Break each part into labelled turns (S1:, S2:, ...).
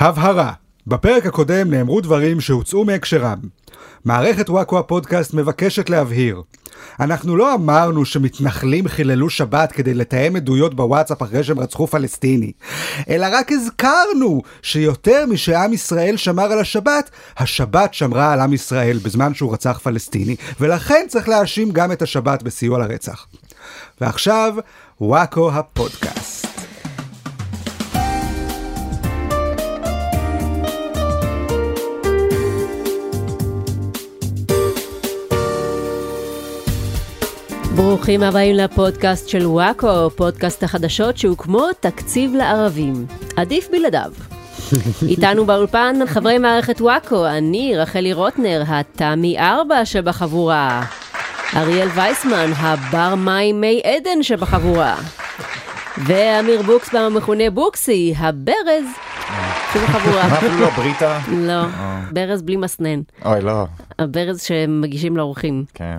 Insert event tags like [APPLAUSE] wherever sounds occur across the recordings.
S1: הבהרה בפרק הקודם נאמרו דברים שהוצאו מהקשרם. מערכת וואקו הפודקאסט מבקשת להבהיר. אנחנו לא אמרנו שמתנחלים חיללו שבת כדי לתאם עדויות בוואטסאפ אחרי שהם רצחו פלסטיני, אלא רק הזכרנו שיותר משעם ישראל שמר על השבת, השבת שמרה על עם ישראל בזמן שהוא רצח פלסטיני, ולכן צריך להאשים גם את השבת בסיוע לרצח. ועכשיו, וואקו הפודקאסט.
S2: ברוכים הבאים לפודקאסט של וואקו, פודקאסט החדשות שהוא כמו תקציב לערבים. עדיף בלעדיו. איתנו באולפן חברי מערכת וואקו, אני רחלי רוטנר, התמי ארבע שבחבורה. אריאל וייסמן, הבר מים מי עדן שבחבורה. ואמיר בוקס במכונה בוקסי, הברז
S3: [LAUGHS]
S2: שבחבורה.
S3: אפילו לא בריטה.
S2: לא, ברז בלי מסנן.
S3: אוי, לא.
S2: הברז שמגישים לאורחים.
S3: כן.
S2: אה,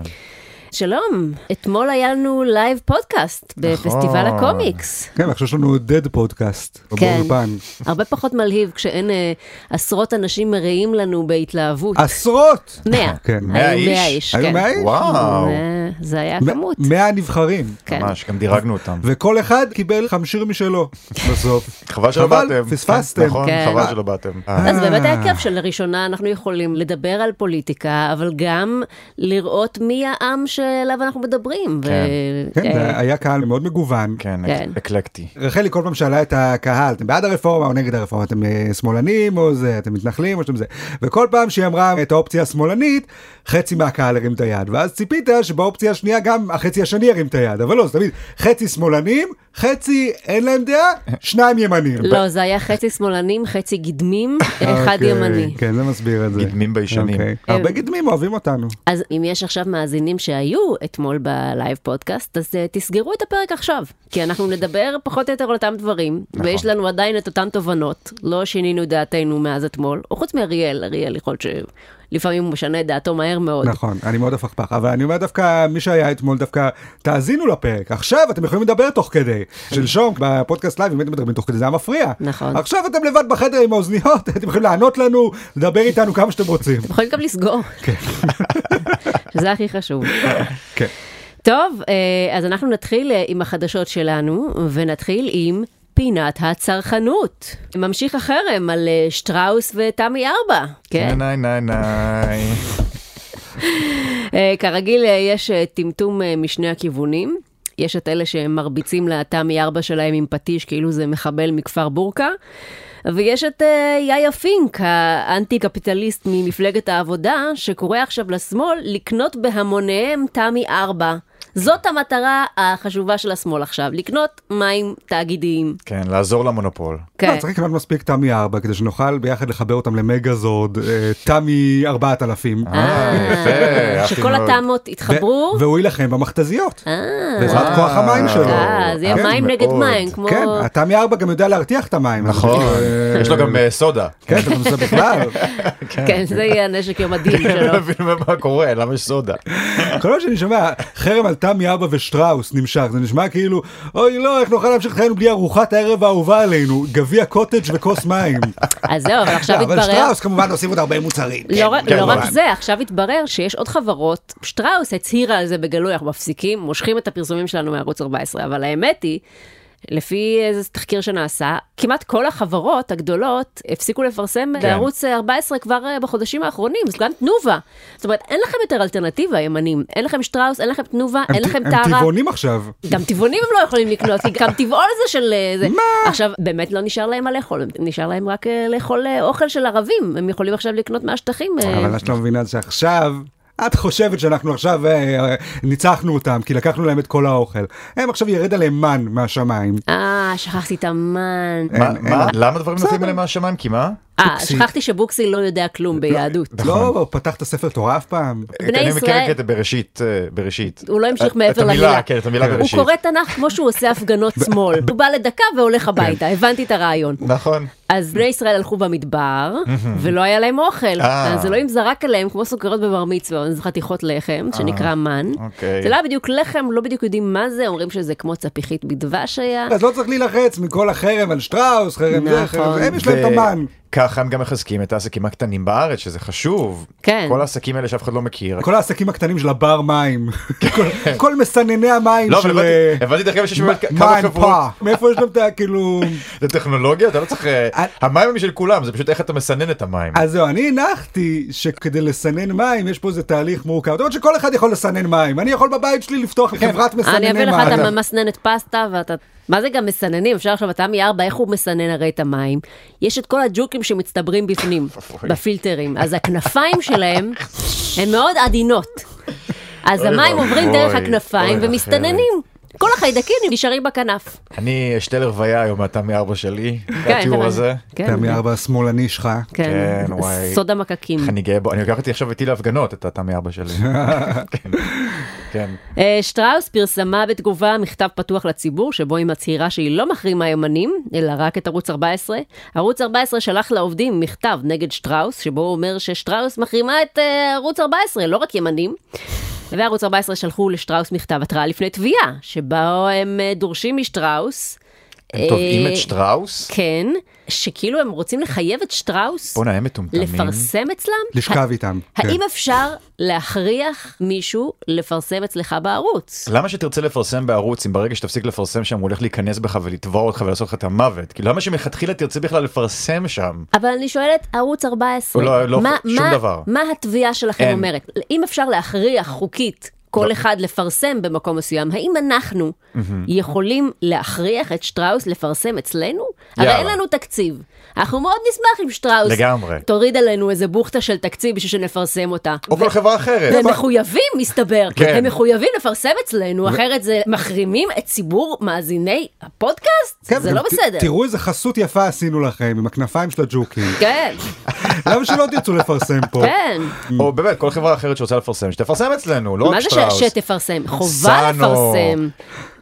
S2: שלום, אתמול היה לנו לייב פודקאסט בפסטיבל
S3: נכון.
S2: הקומיקס.
S1: כן, עכשיו יש לנו dead פודקאסט.
S2: כן.
S1: באולפן.
S2: הרבה פחות מלהיב כשאין אה, עשרות אנשים מריעים לנו בהתלהבות.
S1: עשרות!
S2: מאה.
S1: אה, כן,
S3: מאה
S2: היו מאה
S3: איש?
S2: איש,
S1: היו
S2: כן.
S1: מאה איש?
S3: וואו.
S2: אה, זה היה
S1: מ-
S2: כמות.
S1: 100 נבחרים.
S2: כן.
S3: ממש, גם דירגנו אותם.
S1: וכל אחד קיבל חמשיר
S2: [LAUGHS]
S1: משלו בסוף.
S3: חבל שלא
S1: חבל,
S3: באתם.
S1: פספסתם.
S3: נכון,
S2: כן.
S3: חבל שלא באתם. אה,
S2: אז באמת היה כיף שלראשונה אנחנו יכולים לדבר על פוליטיקה, אבל גם לראות מי העם שאליו אנחנו מדברים. ו-
S3: כן.
S1: כן,
S2: אה,
S1: זה היה קהל מאוד מגוון.
S3: כן,
S2: כן.
S3: אק- אקלקטי.
S1: רחלי כל פעם שאלה את הקהל, אתם בעד הרפורמה או נגד הרפורמה, אתם אה, שמאלנים או זה, אתם מתנחלים או שאתם זה. וכל פעם שהיא אמרה את האופציה השמאלנית, חצי מהקהל הרים את היד. ואז ציפית שבאופציה השנייה גם החצי השני ירים את היד, אבל לא, זה תמיד חצי שמאלנים, חצי אין להם
S2: [LAUGHS]
S1: דעה, שניים ימנים.
S2: לא, זה היה חצי שמאלנים, חצי גדמים, אחד
S1: [LAUGHS] אוקיי,
S2: ימני. כן.
S1: כן, זה מסביר את זה.
S3: גדמים ביישנים.
S1: אוקיי. הרבה גדמים אוהבים אותנו.
S2: אז אם יש עכשיו מאזינים שהיו אתמול בלייב פודקאסט, אז אה, תסגרו את הפרק עכשיו, כי אנחנו נדבר פחות או יותר על אותם דברים, נכון. ויש לנו עדיין את אותן תובנות, לא שינינו דעתנו מאז אתמול, או חוץ מאריאל, אריאל יכול להיות שלפעמים הוא משנה את דעתו מהר מאוד.
S1: נכון, אני מאוד הפכפך, אבל אני אומר דווקא, מי שהיה אתמול דווקא, תאזינו לפרק, עכשיו אתם יכולים לדבר תוך כדי. שלשום בפודקאסט לייב, אם הייתם מדברים תוך כדי, זה היה מפריע.
S2: נכון.
S1: עכשיו אתם לבד בחדר עם האוזניות, אתם יכולים לענות לנו, לדבר איתנו כמה שאתם
S2: [LAUGHS]
S1: רוצים.
S2: אתם יכולים גם לסגור, [LAUGHS] שזה הכי חשוב.
S1: כן.
S2: טוב, אה, אז אנחנו נתחיל אה, עם החדשות שלנו, ונתחיל עם פינת הצרכנות. ממשיך החרם על אה, שטראוס ותמי ארבע. כן.
S3: ניי ניי ניי.
S2: אה, כרגיל, אה, יש אה, טמטום אה, משני הכיוונים. יש את אלה שמרביצים לתמי ארבע שלהם עם פטיש, כאילו זה מחבל מכפר בורקה. ויש את אה, יאיה פינק, האנטי-קפיטליסט ממפלגת העבודה, שקורא עכשיו לשמאל לקנות בהמוניהם תמי ארבע. זאת המטרה החשובה של השמאל עכשיו, לקנות מים תאגידיים.
S3: כן, לעזור למונופול.
S2: כן.
S1: לא, צריך לקנות מספיק תמי 4 כדי שנוכל ביחד לחבר אותם למגזורד, אה, תמי 4000.
S2: אה,
S3: יפה, יפה
S2: שכל
S3: מאוד.
S2: התמות
S1: ו-
S2: יתחברו.
S1: והוא יילחם במכתזיות,
S2: אה,
S1: בעזרת כוח המים שלו.
S2: אה, זה יהיה
S1: כן,
S2: מים נגד
S3: מאוד.
S2: מים, כמו...
S1: כן, התמי 4 גם יודע להרתיח את המים.
S3: נכון,
S1: אה,
S3: יש לו גם אה, סודה.
S1: כן, אתה גם עושה בכלל.
S2: כן, זה יהיה הנשק יום הדין
S3: אני
S2: שלו.
S3: לא מבין מה קורה, למה יש סודה?
S1: כל מה שאני שומע, חרם על תמי אבא ושטראוס נמשך, זה נשמע כאילו, אוי לא, איך נוכל להמשיך את חיינו בלי ארוחת הערב האהובה עלינו, גביע קוטג' וכוס מים.
S2: אז זהו, אבל עכשיו
S1: לא, אבל
S2: התברר...
S1: שטראוס כמובן עושים עוד הרבה מוצרים.
S2: לא רק-
S3: כן,
S2: לא רק
S3: כמובן.
S2: זה, עכשיו התברר שיש עוד חברות, שטראוס הצהירה על זה בגלוי, אנחנו מפסיקים, מושכים את הפרסומים שלנו מערוץ 14, אבל האמת היא, לפי איזה תחקיר שנעשה, כמעט כל החברות הגדולות הפסיקו לפרסם
S1: כן.
S2: בערוץ 14 כבר אה, בחודשים האחרונים, אז גם תנובה. זאת אומרת, אין לכם יותר אלטרנטיבה, ימנים. אין לכם שטראוס, אין לכם תנובה, אין לכם
S1: הם
S2: טרה.
S1: טבעונים עכשיו.
S2: גם טבעונים הם לא יכולים לקנות, כי גם טבעול זה של... אה, זה. עכשיו, באמת לא נשאר להם מה לאכול, נשאר להם רק אה, לאכול אה, אוכל של ערבים, הם יכולים עכשיו לקנות מהשטחים. אה,
S1: אבל מה שאת לא מבינה זה שעכשיו... את חושבת שאנחנו עכשיו אה, אה, ניצחנו אותם כי לקחנו להם את כל האוכל. הם עכשיו ירד עליהם מן מהשמיים.
S2: אה, שכחתי את המן.
S3: מה- מה- למה דברים נופלים עליהם מהשמיים? כי מה?
S2: אה, שכחתי שבוקסי לא יודע כלום ביהדות.
S3: נכון.
S1: לא פתחת ספר תורה אף פעם?
S2: בני
S3: אני מכיר
S2: ישראל-
S3: את זה בראשית, אה, בראשית.
S2: הוא לא
S3: את-
S2: המשיך מעבר
S3: את המילה,
S2: למילה.
S3: כן, את המילה
S2: הוא
S3: בראשית.
S2: קורא תנ"ך כמו שהוא עושה הפגנות שמאל. הוא בא לדקה והולך הביתה,
S3: כן.
S2: הבנתי את הרעיון.
S3: נכון.
S2: אז בני ישראל הלכו במדבר, ולא היה להם אוכל.
S3: אה.
S2: אז אלוהים זרק עליהם, כמו סוכריות בבר מצווה, אז חתיכות לחם, שנקרא מן.
S3: אה. אוקיי.
S2: זה לא היה בדיוק לחם, לא בדיוק יודעים מה זה, אומרים שזה כמו צפיחית בדבש היה.
S1: אז לא צריך להילחץ מכל החרם על שטראוס, חרם זה, חרם
S2: נכון.
S1: זה, הם יש להם את המן.
S3: ככה הם גם מחזקים את העסקים הקטנים בארץ, שזה חשוב.
S2: כן.
S3: כל העסקים האלה שאף אחד לא מכיר.
S1: כל העסקים הקטנים של הבר מים, [LAUGHS] כל- כל מסנני המים
S3: לא, אבל
S1: של...
S3: הבנתי-
S1: אה,
S3: הבנתי דרך אגב שיש
S1: מ-
S3: באמת כ- כמה
S1: מים
S3: חברות.
S1: פה, מאיפה יש להם את ה... כאילו...
S3: [LAUGHS] זה טכנולוגיה, אתה לא צריך... אה,
S1: אה,
S3: המים הם של כולם, זה פשוט איך אתה מסנן את המים.
S1: אז זהו, אני הנחתי שכדי לסנן מים יש פה איזה תהליך מורכב. זאת אומרת שכל אחד יכול לסנן מים, אני יכול בבית שלי
S3: כן.
S1: לפתוח חברת מסנני
S2: אני
S1: מים.
S2: אביא לך את המסננת פסטה ואתה... מה זה גם מסננים? אפשר עכשיו, אתה מארבע, איך הוא מסנן הרי את המים? יש את כל הג'וקים שמצטברים
S3: [LAUGHS]
S2: בפנים, בפילטרים. אז הכנפיים שלהם הן מאוד עדינות. אז
S3: אוי
S2: המים עוברים
S3: ואבוי,
S2: דרך הכנפיים
S3: אוי,
S2: ומסתננים. כל החיידקים נשארים בכנף.
S3: אני אשתה לרוויה היום מהתמי ארבע שלי, התיאור
S2: אבל-
S3: הזה.
S2: כן,
S1: תמי ארבע השמאלני שלך.
S2: כן,
S3: כן, וואי.
S2: סוד המקקים.
S3: איך אני גאה בו, אני לוקח אותי עכשיו איתי להפגנות את התמי
S1: [LAUGHS]
S3: ארבע שלי. כן, כן.
S2: אה, שטראוס פרסמה בתגובה מכתב פתוח לציבור, שבו היא מצהירה שהיא לא מחרימה יומנים, אלא רק את ערוץ 14. ערוץ 14 שלח לעובדים מכתב נגד שטראוס, שבו הוא אומר ששטראוס מחרימה את אה, ערוץ 14, לא רק ימנים. וערוץ 14 שלחו לשטראוס מכתב התראה לפני תביעה, שבו הם אה, דורשים משטראוס.
S3: הם תובעים
S2: אה,
S3: את שטראוס?
S2: כן, שכאילו הם רוצים לחייב את שטראוס
S3: בואנה, הם מטומטמים.
S2: לפרסם אצלם
S1: לשכב איתם. כן.
S2: האם אפשר להכריח מישהו לפרסם אצלך בערוץ?
S3: למה שתרצה לפרסם בערוץ אם ברגע שתפסיק לפרסם שם הוא הולך להיכנס בך ולתבוע אותך ולעשות לך את המוות? כאילו למה שמלכתחילה תרצה בכלל לפרסם שם?
S2: אבל אני שואלת, ערוץ 14,
S3: לא, לא,
S2: מה,
S3: שום
S2: מה,
S3: דבר.
S2: מה התביעה שלכם
S3: אין.
S2: אומרת? אם אפשר להכריח חוקית כל
S3: לא.
S2: אחד לפרסם במקום מסוים, האם אנחנו יכולים להכריח את שטראוס לפרסם אצלנו? הרי
S3: יאללה.
S2: אין לנו תקציב. אנחנו מאוד נשמח אם שטראוס
S3: לגמרי.
S2: תוריד עלינו איזה בוכטה של תקציב בשביל שנפרסם אותה.
S3: או כל חברה אחרת.
S2: והם מחויבים, מסתבר.
S3: כן.
S2: הם מחויבים לפרסם אצלנו, אחרת זה מחרימים את ציבור מאזיני הפודקאסט?
S1: כן,
S2: זה
S1: גם
S2: לא
S1: ת-
S2: בסדר.
S1: תראו איזה חסות יפה עשינו לכם עם הכנפיים של
S2: [LAUGHS]
S1: הג'וקים.
S2: כן,
S1: למה שלא תרצו לפרסם פה?
S2: כן.
S3: או באמת כל חברה אחרת שרוצה לפרסם שתפרסם אצלנו לא רק
S2: מה זה ש-
S3: שטראוס.
S2: שתפרסם? חובה
S3: סאנו.
S2: לפרסם.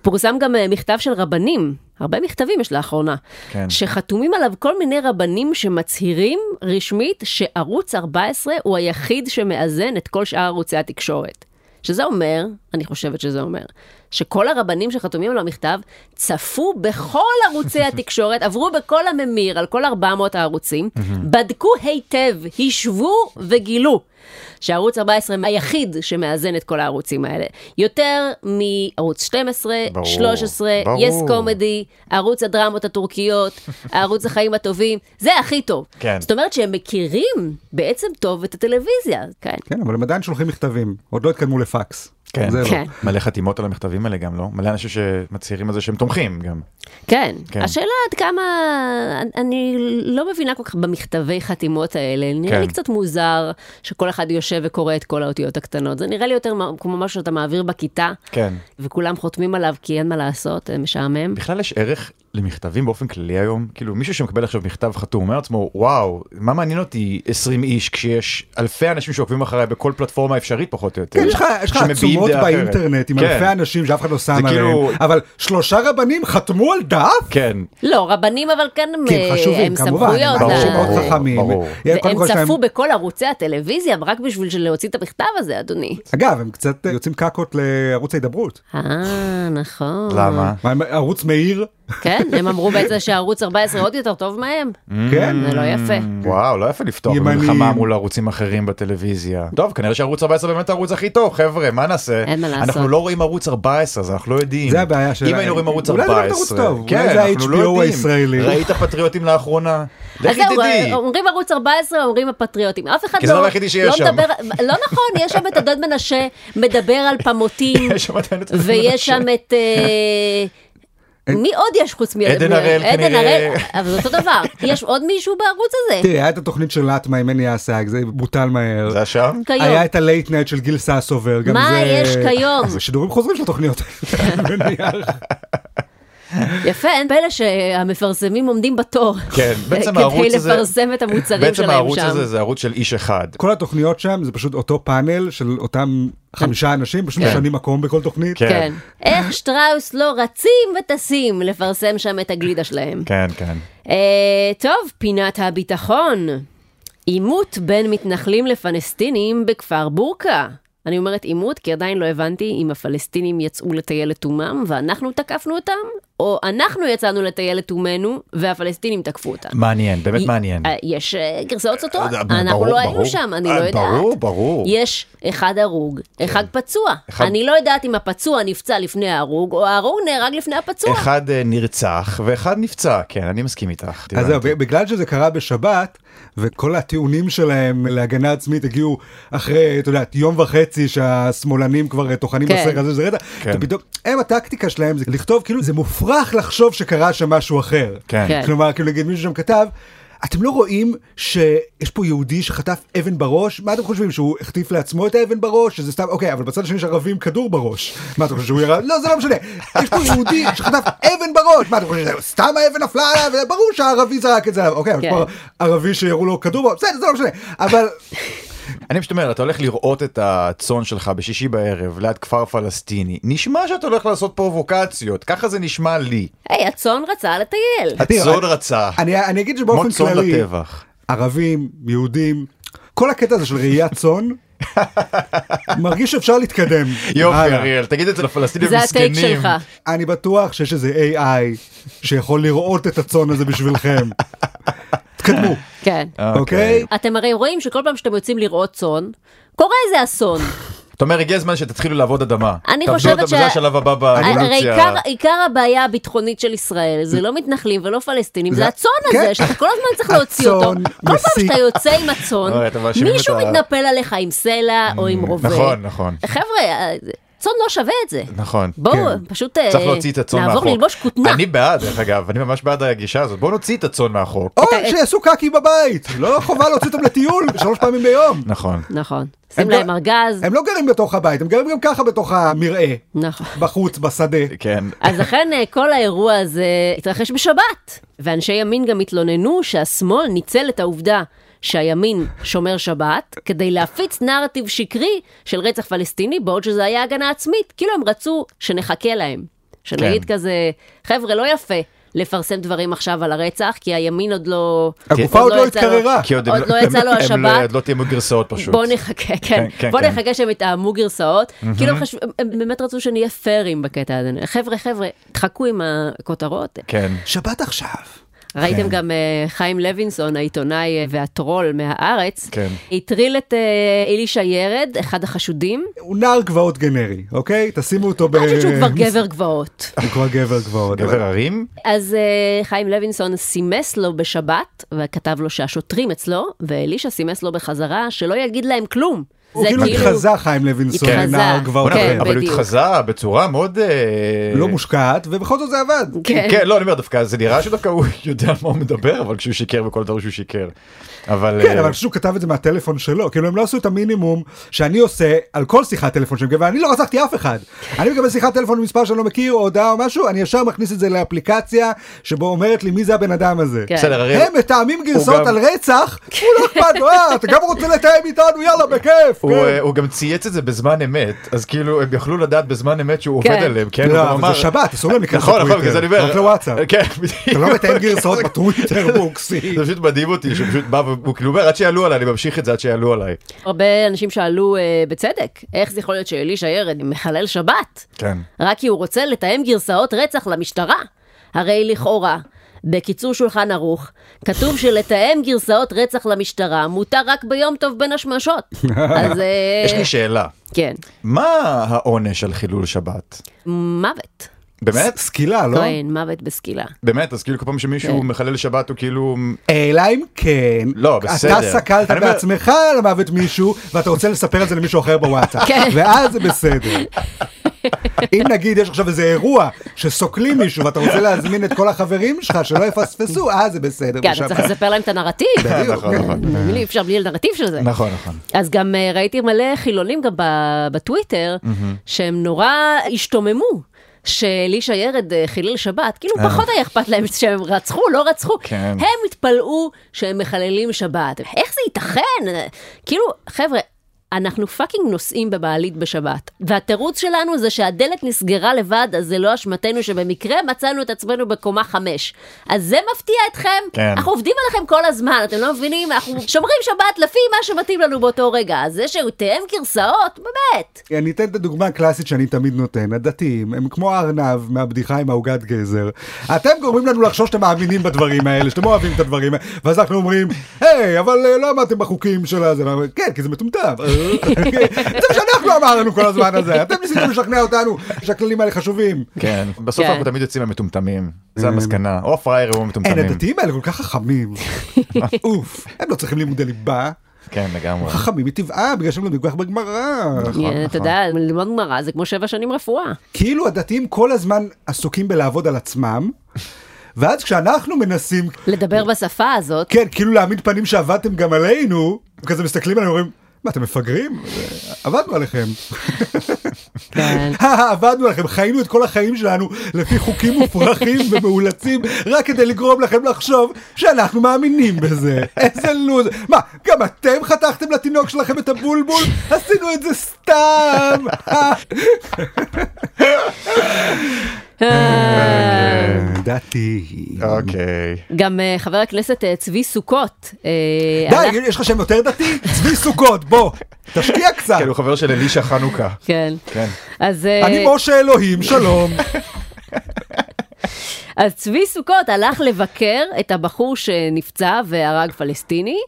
S2: פורסם גם אה, מכתב של רבנים, הרבה מכתבים יש לאחרונה,
S3: כן.
S2: שחתומים עליו כל מיני רבנים שמצהירים רשמית שערוץ 14 הוא היחיד שמאזן את כל שאר ערוצי התקשורת. שזה אומר, אני חושבת שזה אומר, שכל הרבנים שחתומים על המכתב צפו בכל
S3: [LAUGHS]
S2: ערוצי התקשורת, עברו בכל הממיר על כל 400 הערוצים, בדקו היטב, השוו וגילו שערוץ 14 היחיד שמאזן את כל הערוצים האלה. יותר מערוץ 12,
S3: ברור,
S2: 13,
S3: ברור.
S2: יס קומדי, ערוץ הדרמות
S3: [LAUGHS]
S2: הטורקיות, ערוץ החיים הטובים, זה הכי טוב.
S3: כן.
S2: זאת אומרת שהם מכירים בעצם טוב את הטלוויזיה, כן.
S1: כן, אבל הם עדיין שולחים מכתבים, עוד לא התקדמו לפקס.
S3: כן.
S1: זה לא.
S2: כן.
S3: מלא חתימות על המכתבים האלה גם לא מלא אנשים שמצהירים על זה שהם תומכים גם.
S2: כן. כן.
S3: כן.
S2: השאלה עד כמה, אני לא מבינה כל כך במכתבי חתימות האלה. נראה
S3: כן.
S2: לי קצת מוזר שכל אחד יושב וקורא את כל האותיות הקטנות. זה נראה לי יותר מ- כמו משהו שאתה מעביר בכיתה,
S3: כן.
S2: וכולם חותמים עליו כי אין מה לעשות, אה,
S3: [LAUGHS]
S2: משעמם.
S3: בכלל יש ערך למכתבים באופן כללי היום כאילו מישהו שמקבל עכשיו מכתב חתום אומר לעצמו וואו מה מעניין אותי 20 איש כשיש אלפי אנשים שעוקבים אחריי בכל פלטפורמה אפשרית פחות או יותר.
S1: כן, יש לך- יש לך
S3: שמביעים
S1: עצומות
S3: דעה אחרת.
S1: באינטרנט עם
S3: כן,
S1: אלפי אנשים שאף אחד לא שם
S3: זה
S1: עליהם,
S3: כאילו-
S1: אבל שלושה רבנים חתמו על דף?
S3: כן.
S2: לא, רבנים אבל כאן
S1: כי
S2: אה,
S1: הם חשובים
S2: הם
S1: כמובן,
S2: סמכויות.
S1: הם אנשים
S2: ל-
S1: מאוד
S3: ברור,
S1: חכמים.
S3: ברור.
S1: יהיה
S2: הם
S1: קודם כל שלהם-
S2: צפו בכל ערוצי הטלוויזיה רק בשביל להוציא את המכתב הזה, אדוני.
S1: אגב, הם קצת אה, יוצאים קקות לערוץ ההידברות.
S2: אה, נכון.
S3: למה?
S1: מה, הם- ערוץ מאיר?
S2: כן, הם אמרו בעצם שערוץ 14 עוד יותר טוב מהם.
S3: Mm.
S1: כן.
S2: זה לא יפה.
S3: וואו לא יפה לפתוח
S1: ימנים.
S3: במלחמה מול ערוצים אחרים בטלוויזיה. טוב כנראה שערוץ 14 באמת הערוץ הכי טוב חבר'ה מה נעשה?
S2: אין מה לעשות.
S3: אנחנו לא רואים ערוץ 14 אז אנחנו לא יודעים.
S1: זה הבעיה שלהם.
S3: אם היינו רואים ערוץ
S1: אולי זה
S3: 14.
S1: באמת ערוץ טוב,
S3: כן,
S1: אולי זה
S3: אנחנו לא
S1: ה-HBO
S3: יודעים.
S1: הישראלי.
S3: ראית פטריוטים לאחרונה?
S2: אז
S3: לכי תדעי.
S2: זהו, אה, אומרים ערוץ 14, אומרים הפטריוטים. אף אחד
S3: כי זה
S2: לא
S3: הדבר היחידי
S2: לא
S3: שיש שם.
S2: מדבר, לא נכון, יש שם את הדוד מנשה מדבר על
S3: [LAUGHS]
S2: פמוטים,
S3: יש שם עדיין את-
S2: ויש שם את... אה, מי עוד יש חוץ מ...
S3: עדן
S2: מ-
S3: הראל
S2: עדן
S3: כנראה.
S2: הראל, אבל אותו דבר. יש עוד מישהו בערוץ הזה?
S1: תראי, היה את התוכנית של לאטמה עם מני אסג, זה בוטל מהר.
S3: זה היה שם?
S2: כיום.
S1: היה את הלייט נייט של גיל ססובר, גם
S2: מה
S1: זה... אה,
S2: יש כיום?
S1: זה שידורים חוזרים של
S2: [LAUGHS]
S1: התוכניות האלה. מניח.
S2: יפה, אין פלא שהמפרסמים עומדים בתור.
S3: כן, בעצם הערוץ הזה...
S2: כדי לפרסם את המוצרים
S3: בעצם
S2: שלהם
S3: הערוץ
S2: שם.
S3: הזה זה ערוץ של איש אחד.
S1: כל התוכניות שם זה פשוט אותו פאנל של אותם חמישה אנשים, פשוט
S3: כן.
S1: משנים מקום בכל תוכנית.
S3: כן.
S2: כן. איך שטראוס לא רצים וטסים לפרסם שם את הגלידה שלהם.
S3: כן, כן.
S2: אה, טוב, פינת הביטחון. עימות בין מתנחלים לפלסטינים בכפר בורקה. אני אומרת עימות, כי עדיין לא הבנתי אם הפלסטינים יצאו לטייל את אומם ואנחנו תקפנו אותם, או אנחנו יצאנו לטייל את אומנו והפלסטינים תקפו אותם.
S3: מעניין, באמת
S2: י-
S3: מעניין.
S2: אה, יש אה, גרסאות סותרות,
S3: אה, ברור,
S2: אנחנו לא היינו
S3: ברור.
S2: שם, אני
S3: אה,
S2: לא יודעת.
S3: ברור, ברור.
S2: יש אחד הרוג, אחד פצוע.
S3: כן. אחד-
S2: אני לא יודעת אם הפצוע נפצע לפני ההרוג, או ההרוג נהרג לפני הפצוע.
S3: אחד אה, נרצח ואחד נפצע, כן, אני מסכים איתך.
S1: אז זהו,
S3: הבנתי.
S1: בגלל שזה קרה בשבת, וכל הטיעונים שלהם להגנה עצמית הגיעו אחרי, את יודעת, יום וחצי שהשמאלנים כבר אה, טוחנים
S2: כן.
S1: בסרט הזה, זה רטע,
S3: כן.
S1: אתה פתאום, הם הטקטיקה שלהם זה לכתוב, כאילו, זה מופרך לחשוב שקרה שם משהו אחר.
S3: כן.
S2: כן.
S1: כלומר, כאילו, נגיד מישהו שם כתב, אתם לא רואים שיש פה יהודי שחטף אבן בראש? מה אתם חושבים, שהוא החטיף לעצמו את האבן בראש? שזה סתם, אוקיי, אבל בצד השני יש ערבים עם כדור בראש. מה אתם חושבים, שהוא ירד? לא, זה לא משנה. יש פה יהודי שחטף אבן בראש! מה אתם חושבים, שזה סתם האבן נפלה עליו? ברור שהערבי זרק את זה עליו. אוקיי, אבל יש
S2: כן.
S1: פה ערבי שירו לו כדור בראש, בסדר, זה לא משנה. אבל...
S3: אני פשוט אומר, אתה הולך לראות את הצאן שלך בשישי בערב ליד כפר פלסטיני, נשמע שאתה הולך לעשות פרובוקציות, ככה זה נשמע לי.
S2: היי, הצאן רצה לטייל.
S1: תראה,
S3: הצאן
S1: אני-
S3: רצה,
S1: אני אני אגיד
S3: כמו
S1: שבאופן
S3: צאן
S1: כללי,
S3: לטבח.
S1: ערבים, יהודים, כל הקטע הזה של ראיית צאן, מרגיש שאפשר להתקדם.
S3: יופי
S1: הלאה.
S3: אריאל, תגיד את זה לפלסטינים
S2: זה הטייק
S3: המסכנים. אה,
S2: שלך.
S1: אני בטוח שיש איזה AI שיכול לראות את הצאן הזה בשבילכם. תקדמו,
S2: כן.
S1: אוקיי?
S2: אתם הרי רואים שכל פעם שאתם יוצאים לראות צאן, קורה איזה
S3: [LAUGHS]
S2: אסון.
S3: אתה אומר, הגיע הזמן שתתחילו לעבוד אדמה.
S2: אני
S3: תעבדו
S2: חושבת
S3: אותה,
S2: ש- אה,
S3: זה השלב הבא
S2: הרי
S3: באבולוציה.
S2: עיקר- עיקר הבעיה הביטחונית של ישראל זה לא מתנחלים ולא פלסטינים, זה
S1: זה-
S2: הצאן
S1: כן.
S2: הזה, שאתה כל הזמן צריך להוציא אותו.
S1: הצאן
S2: כל פעם
S1: מסיק.
S2: שאתה יוצא עם הצאן,
S3: אוי, אתם מאשימים
S2: מישהו
S3: את ה-
S2: מתנפל עליך עם סלע או עם רובה.
S3: נכון, נכון.
S2: חבר'ה, צאן לא שווה את זה.
S3: נכון.
S2: בואו,
S1: כן.
S2: פשוט אה,
S3: צריך להוציא את הצאן מהחוק.
S2: נעבור ללבוש כותנה.
S3: אני בעד, דרך אגב, אני ממש בעד הגישה הזאת. בואו נוציא את הצאן מהחוק.
S1: או שיעשו קקי בבית, לא חובה להוציא אותם לטיול שלוש פעמים ביום.
S3: נכון.
S2: נכון. שים
S1: הם
S2: להם
S1: גם-
S2: ארגז,
S1: הם לא גרים בתוך הבית, הם גרים גם ככה בתוך המרעה,
S2: נכון.
S1: בחוץ, בשדה.
S3: כן.
S2: אז לכן אה, כל האירוע הזה התרחש בשבת, ואנשי ימין גם התלוננו שהשמאל ניצל את העובדה שהימין שומר שבת כדי להפיץ נרטיב שקרי של רצח פלסטיני, בעוד שזה היה הגנה עצמית, כאילו הם רצו שנחכה להם. שנגיד
S3: כן.
S2: כזה, חבר'ה, לא יפה. לפרסם דברים עכשיו על הרצח, כי הימין עוד לא...
S1: הגופה עוד לא
S2: יצא לו-
S1: התקררה.
S3: כי
S2: עוד
S3: הם-
S2: לא יצא לו
S3: הם לא-
S2: השבת.
S3: עוד לא תהיה גרסאות פשוט.
S2: בוא נחכה, כן,
S3: כן,
S2: בוא
S3: כן.
S2: נחכה שהם יתאמו גרסאות, כאילו הם חשבו, הם- הם באמת רצו שנהיה פיירים בקטע הזה, חבר'ה חבר'ה, תחכו עם הכותרות,
S3: כן.
S1: שבת עכשיו.
S2: ראיתם גם אה, חיים לוינסון העיתונאי אה, והטרול מהארץ,
S3: כן.
S2: הטריל את אה, אלישע ירד, אחד החשודים,
S1: הוא נער גבעות גנרי, אוקיי? תשימו אותו
S3: אה.
S1: ב...
S2: אני חושבת שהוא כבר גבר גבעות.
S1: הוא כבר גבר גבעות.
S3: גבר הרים?
S2: אז אה, חיים לוינסון סימס לו בשבת, וכתב לו שהשוטרים אצלו, ואלישע סימס לו בחזרה שלא יגיד להם כלום.
S1: הוא כאילו התחזה חיים לוינסון,
S2: התחזה.
S1: נער גבעות.
S2: כן,
S3: אבל הוא
S2: בדיוק.
S3: התחזה בצורה מאוד... אה,
S1: לא מושקעת, ובכל זאת זה עבד.
S2: כן.
S3: כן, לא, אני אומר דווקא, זה נראה שדווקא הוא [LAUGHS] יודע על מה הוא מדבר, אבל כשהוא שיקר בכל דבר שהוא שיקר. אבל...
S1: כן,
S3: אה,
S1: אבל אני חושב שהוא כתב את זה מהטלפון שלו, כאילו הם לא עשו את המינימום שאני עושה על כל שיחת טלפון שאני מקבל, אני לא רצחתי אף אחד. אני מקבל שיחת טלפון ממספר שאני לא מכיר, או הודעה או משהו, אני ישר מכניס את זה לאפליקציה שבו אומרת לי מי זה הבן אדם הזה.
S2: כן.
S3: בסדר, אריאל.
S1: הם מתאמים גרסאות
S3: גם-
S1: על רצח, הוא לא אכפת לו, אה, אתה גם רוצה לתאם איתנו, יאללה, בכיף.
S3: הוא,
S1: כן.
S3: אה, הוא גם צייץ את זה בזמן אמת, אז כאילו הם יכלו לדעת בזמן אמת שהוא
S2: כן.
S3: עובד עליהם, כן? הוא גם
S1: לא, אבל
S3: אמר-
S1: זה שבת, אסור להם להיכנס
S3: נכון, נכון, בגלל זה אני אומר.
S1: רק לוואטסאפ.
S3: [LAUGHS] כן,
S1: אתה
S3: בדיוק.
S1: לא מתאם גרסאות בטוויטר בוקסי.
S3: [LAUGHS] זה פשוט מדהים אותי, שהוא פשוט בא והוא כאילו אומר, עד שיעלו עליי, אני ממשיך את זה עד שיעלו עליי.
S2: הרבה אנשים שאלו אה, בצדק, איך זה יכול להיות שאלישע ירד מחלל שבת?
S3: כן.
S2: רק כי הוא רוצה לתאם גרסאות רצח למשטרה. הרי לכאורה, בקיצור שולחן ערוך, כתוב שלתאם גרסאות רצח למשטרה מותר רק ביום טוב בין השמשות. אז אה,
S3: יש לי שאלה,
S2: כן,
S3: מה העונש על חילול שבת?
S2: מוות.
S3: באמת?
S1: סקילה, לא?
S2: כהן, מוות בסקילה.
S3: באמת, אז כאילו כל פעם שמישהו
S2: כן.
S3: מחלל שבת הוא כאילו...
S1: אלא אם כן,
S3: לא,
S1: אתה
S3: בסדר.
S1: סקלת
S3: אני אומר-
S1: בעצמך על מוות מישהו, ואתה רוצה לספר את זה למישהו אחר בוואטסאפ,
S2: כן.
S1: ואז זה בסדר. אם נגיד יש עכשיו איזה אירוע שסוקלים מישהו ואתה רוצה להזמין את כל החברים שלך שלא יפספסו, אז זה בסדר.
S2: כן, אתה
S1: בשבת.
S2: צריך לספר להם את הנרטיב.
S1: בדיוק.
S3: נכון, נכון.
S2: אי אפשר בלי הנרטיב של זה.
S3: נכון, נכון.
S2: אז גם אה, ראיתי מלא חילונים גם ב- בטוויטר, שהם נורא השתוממו. שאלישע ירד אה, חילל שבת, כאילו
S3: אה.
S2: פחות היה אכפת להם שהם רצחו, לא רצחו.
S3: כן.
S2: הם התפלאו שהם מחללים שבת. איך זה ייתכן? אה, כאילו, חבר'ה, אנחנו פאקינג נוסעים במעלית בשבת, והתירוץ שלנו זה שהדלת נסגרה לבד, אז זה לא אשמתנו שבמקרה מצאנו את עצמנו בקומה חמש. אז זה מפתיע אתכם?
S3: כן.
S2: אנחנו עובדים עליכם כל הזמן, אתם לא מבינים? אנחנו שומרים שבת לפי מה שמתאים לנו באותו רגע, אז זה שתיאם גרסאות, באמת.
S1: אה, אני אתן את הדוגמה הקלאסית שאני תמיד נותן, הדתיים, הם כמו הארנב מהבדיחה עם העוגת גזר. אתם גורמים לנו לחשוב שאתם מאמינים בדברים האלה, שאתם אוהבים את הדברים האלה, ואז אנחנו אומרים, היי, אבל אה, לא עמדתם בחוקים של הזה, ואנחנו אומרים, כן, כי זה מטומטם. [LAUGHS] זה מה שאנחנו אמרנו כל הזמן הזה, אתם ניסיתם לשכנע אותנו שהכללים האלה חשובים.
S3: כן, בסוף
S2: כן.
S3: אנחנו תמיד יוצאים המטומטמים, זה המסקנה, או לא הפראיירים או המטומטמים.
S1: אין, הדתיים האלה כל כך חכמים. אוף, הם לא צריכים לימודי ליבה,
S3: כן, לגמרי.
S1: חכמים מטבעם, בגלל שהם לומדים כל כך בגמרא.
S2: אה, אתה יודע, ללמוד גמרא זה כמו שבע שנים רפואה.
S1: כאילו הדתיים כל הזמן עסוקים בלעבוד על עצמם, ואז כשאנחנו מנסים,
S2: לדבר בשפה הזאת,
S1: כן, כאילו להעמיד פנים שעבדתם גם עלינו, כזה מסתכלים עלינו ואומרים, מה, אתם מפגרים? עבדנו עליכם.
S2: כן.
S1: עבדנו עליכם, חיינו את כל החיים שלנו לפי חוקים מופרכים ומאולצים, רק כדי לגרום לכם לחשוב שאנחנו מאמינים בזה. איזה לוז. מה, גם אתם חתכתם לתינוק שלכם את הבולבול? עשינו את זה סתם. אה, דתי.
S3: אוקיי.
S2: גם אה, חבר הכנסת אה, צבי סוכות, אה, הלך-
S1: די, יש לך שם יותר דתי? צבי סוכות, בוא, תשקיע קצת.
S3: כן, הוא חבר של אלישע חנוכה.
S2: כן,
S3: כן.
S2: אז אה,
S1: אני משה אלוהים, שלום.
S2: אז צבי סוכות הלך לבקר את הבחור שנפצע והרג פלסטיני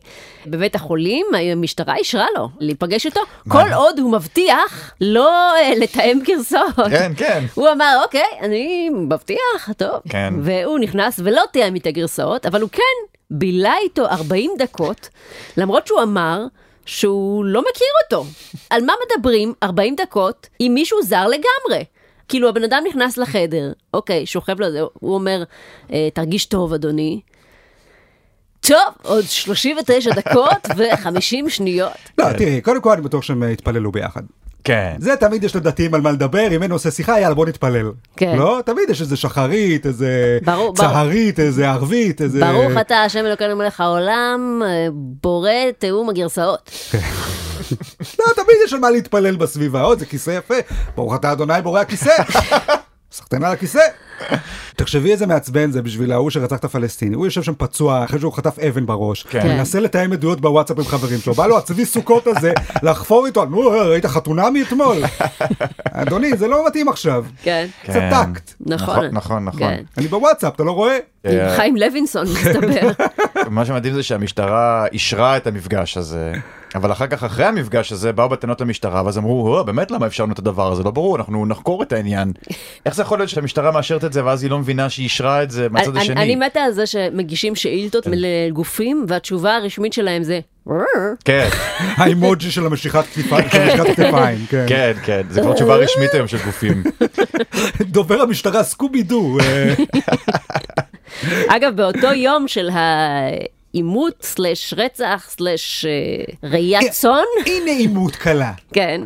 S2: בבית החולים, המשטרה אישרה לו להיפגש איתו, כל עוד הוא מבטיח לא אה, לתאם גרסאות.
S3: כן, כן.
S2: הוא אמר, אוקיי, אני מבטיח, טוב.
S3: כן.
S2: והוא נכנס ולא תיאם את הגרסאות, אבל הוא כן בילה איתו 40 דקות, למרות שהוא אמר שהוא לא מכיר אותו. על מה מדברים 40 דקות עם מישהו זר לגמרי? כאילו, הבן אדם נכנס לחדר, אוקיי, שוכב לו, זה, הוא אומר, "אה, תרגיש טוב, אדוני. טוב, עוד 39 דקות ו-50 שניות.
S1: לא, תראי, קודם כל אני בטוח שהם אה, יתפללו ביחד.
S3: כן.
S1: זה תמיד יש לדתיים על מה לדבר, אם אין נושא שיחה, יאללה בוא נתפלל.
S2: כן.
S1: לא? תמיד יש איזה שחרית, איזה
S2: ברור, ברור.
S1: צהרית, איזה ערבית, איזה...
S2: ברוך אתה, השם אלוקינו מלך העולם, אה, בורא תיאום הגרסאות.
S1: לא, תמיד יש על מה להתפלל בסביבה, עוד זה כיסא יפה. ברוך אתה אדוני בורא הכיסא. [LAUGHS] סחטיין על הכיסא. תחשבי איזה מעצבן זה בשביל ההוא שרצח את הפלסטיני, הוא יושב שם פצוע אחרי שהוא חטף אבן בראש,
S3: כן.
S1: הוא מנסה לתאם עדויות בוואטסאפ עם חברים שלו, בא לו הצבי סוכות הזה [LAUGHS] לחפור איתו, נו אה, ראית חתונה
S3: [LAUGHS]
S1: מאתמול? אדוני זה לא מתאים עכשיו,
S2: כן.
S1: קצת
S3: כן.
S1: טקט,
S2: נכון.
S3: נכון, אה, נכון.
S2: כן.
S1: אני בוואטסאפ אתה לא רואה?
S2: עם חיים לוינסון מסתבר.
S3: מה שמדהים זה שהמשטרה אישרה את המפגש הזה, אבל אחר כך, אחרי המפגש הזה, באו בטענות למשטרה, ואז אמרו, "אה, באמת למה אפשרנו את הדבר הזה? לא ברור, אנחנו נחקור
S2: [LAUGHS]
S3: את העניין. איך זה יכול להיות שהמשטרה מאשרת את זה, ואז היא לא מבינה שהיא אישרה את זה מהצד
S2: אני-
S3: השני?
S2: אני מתה על זה שמגישים שאילתות לגופים והתשובה הרשמית שלהם זה
S3: כן,
S1: האימוג'י של המשיכת כתפיים, של משיכת כתפיים, כן.
S3: כן, כן, זה כבר תשובה רשמית היום של גופים.
S1: דובר המשטרה סקובי דו, אה,
S2: אגב באותו [LAUGHS] יום של העימות סלש רצח סלש אה, ראיית צאן
S1: הנה עימות קלה.
S2: כן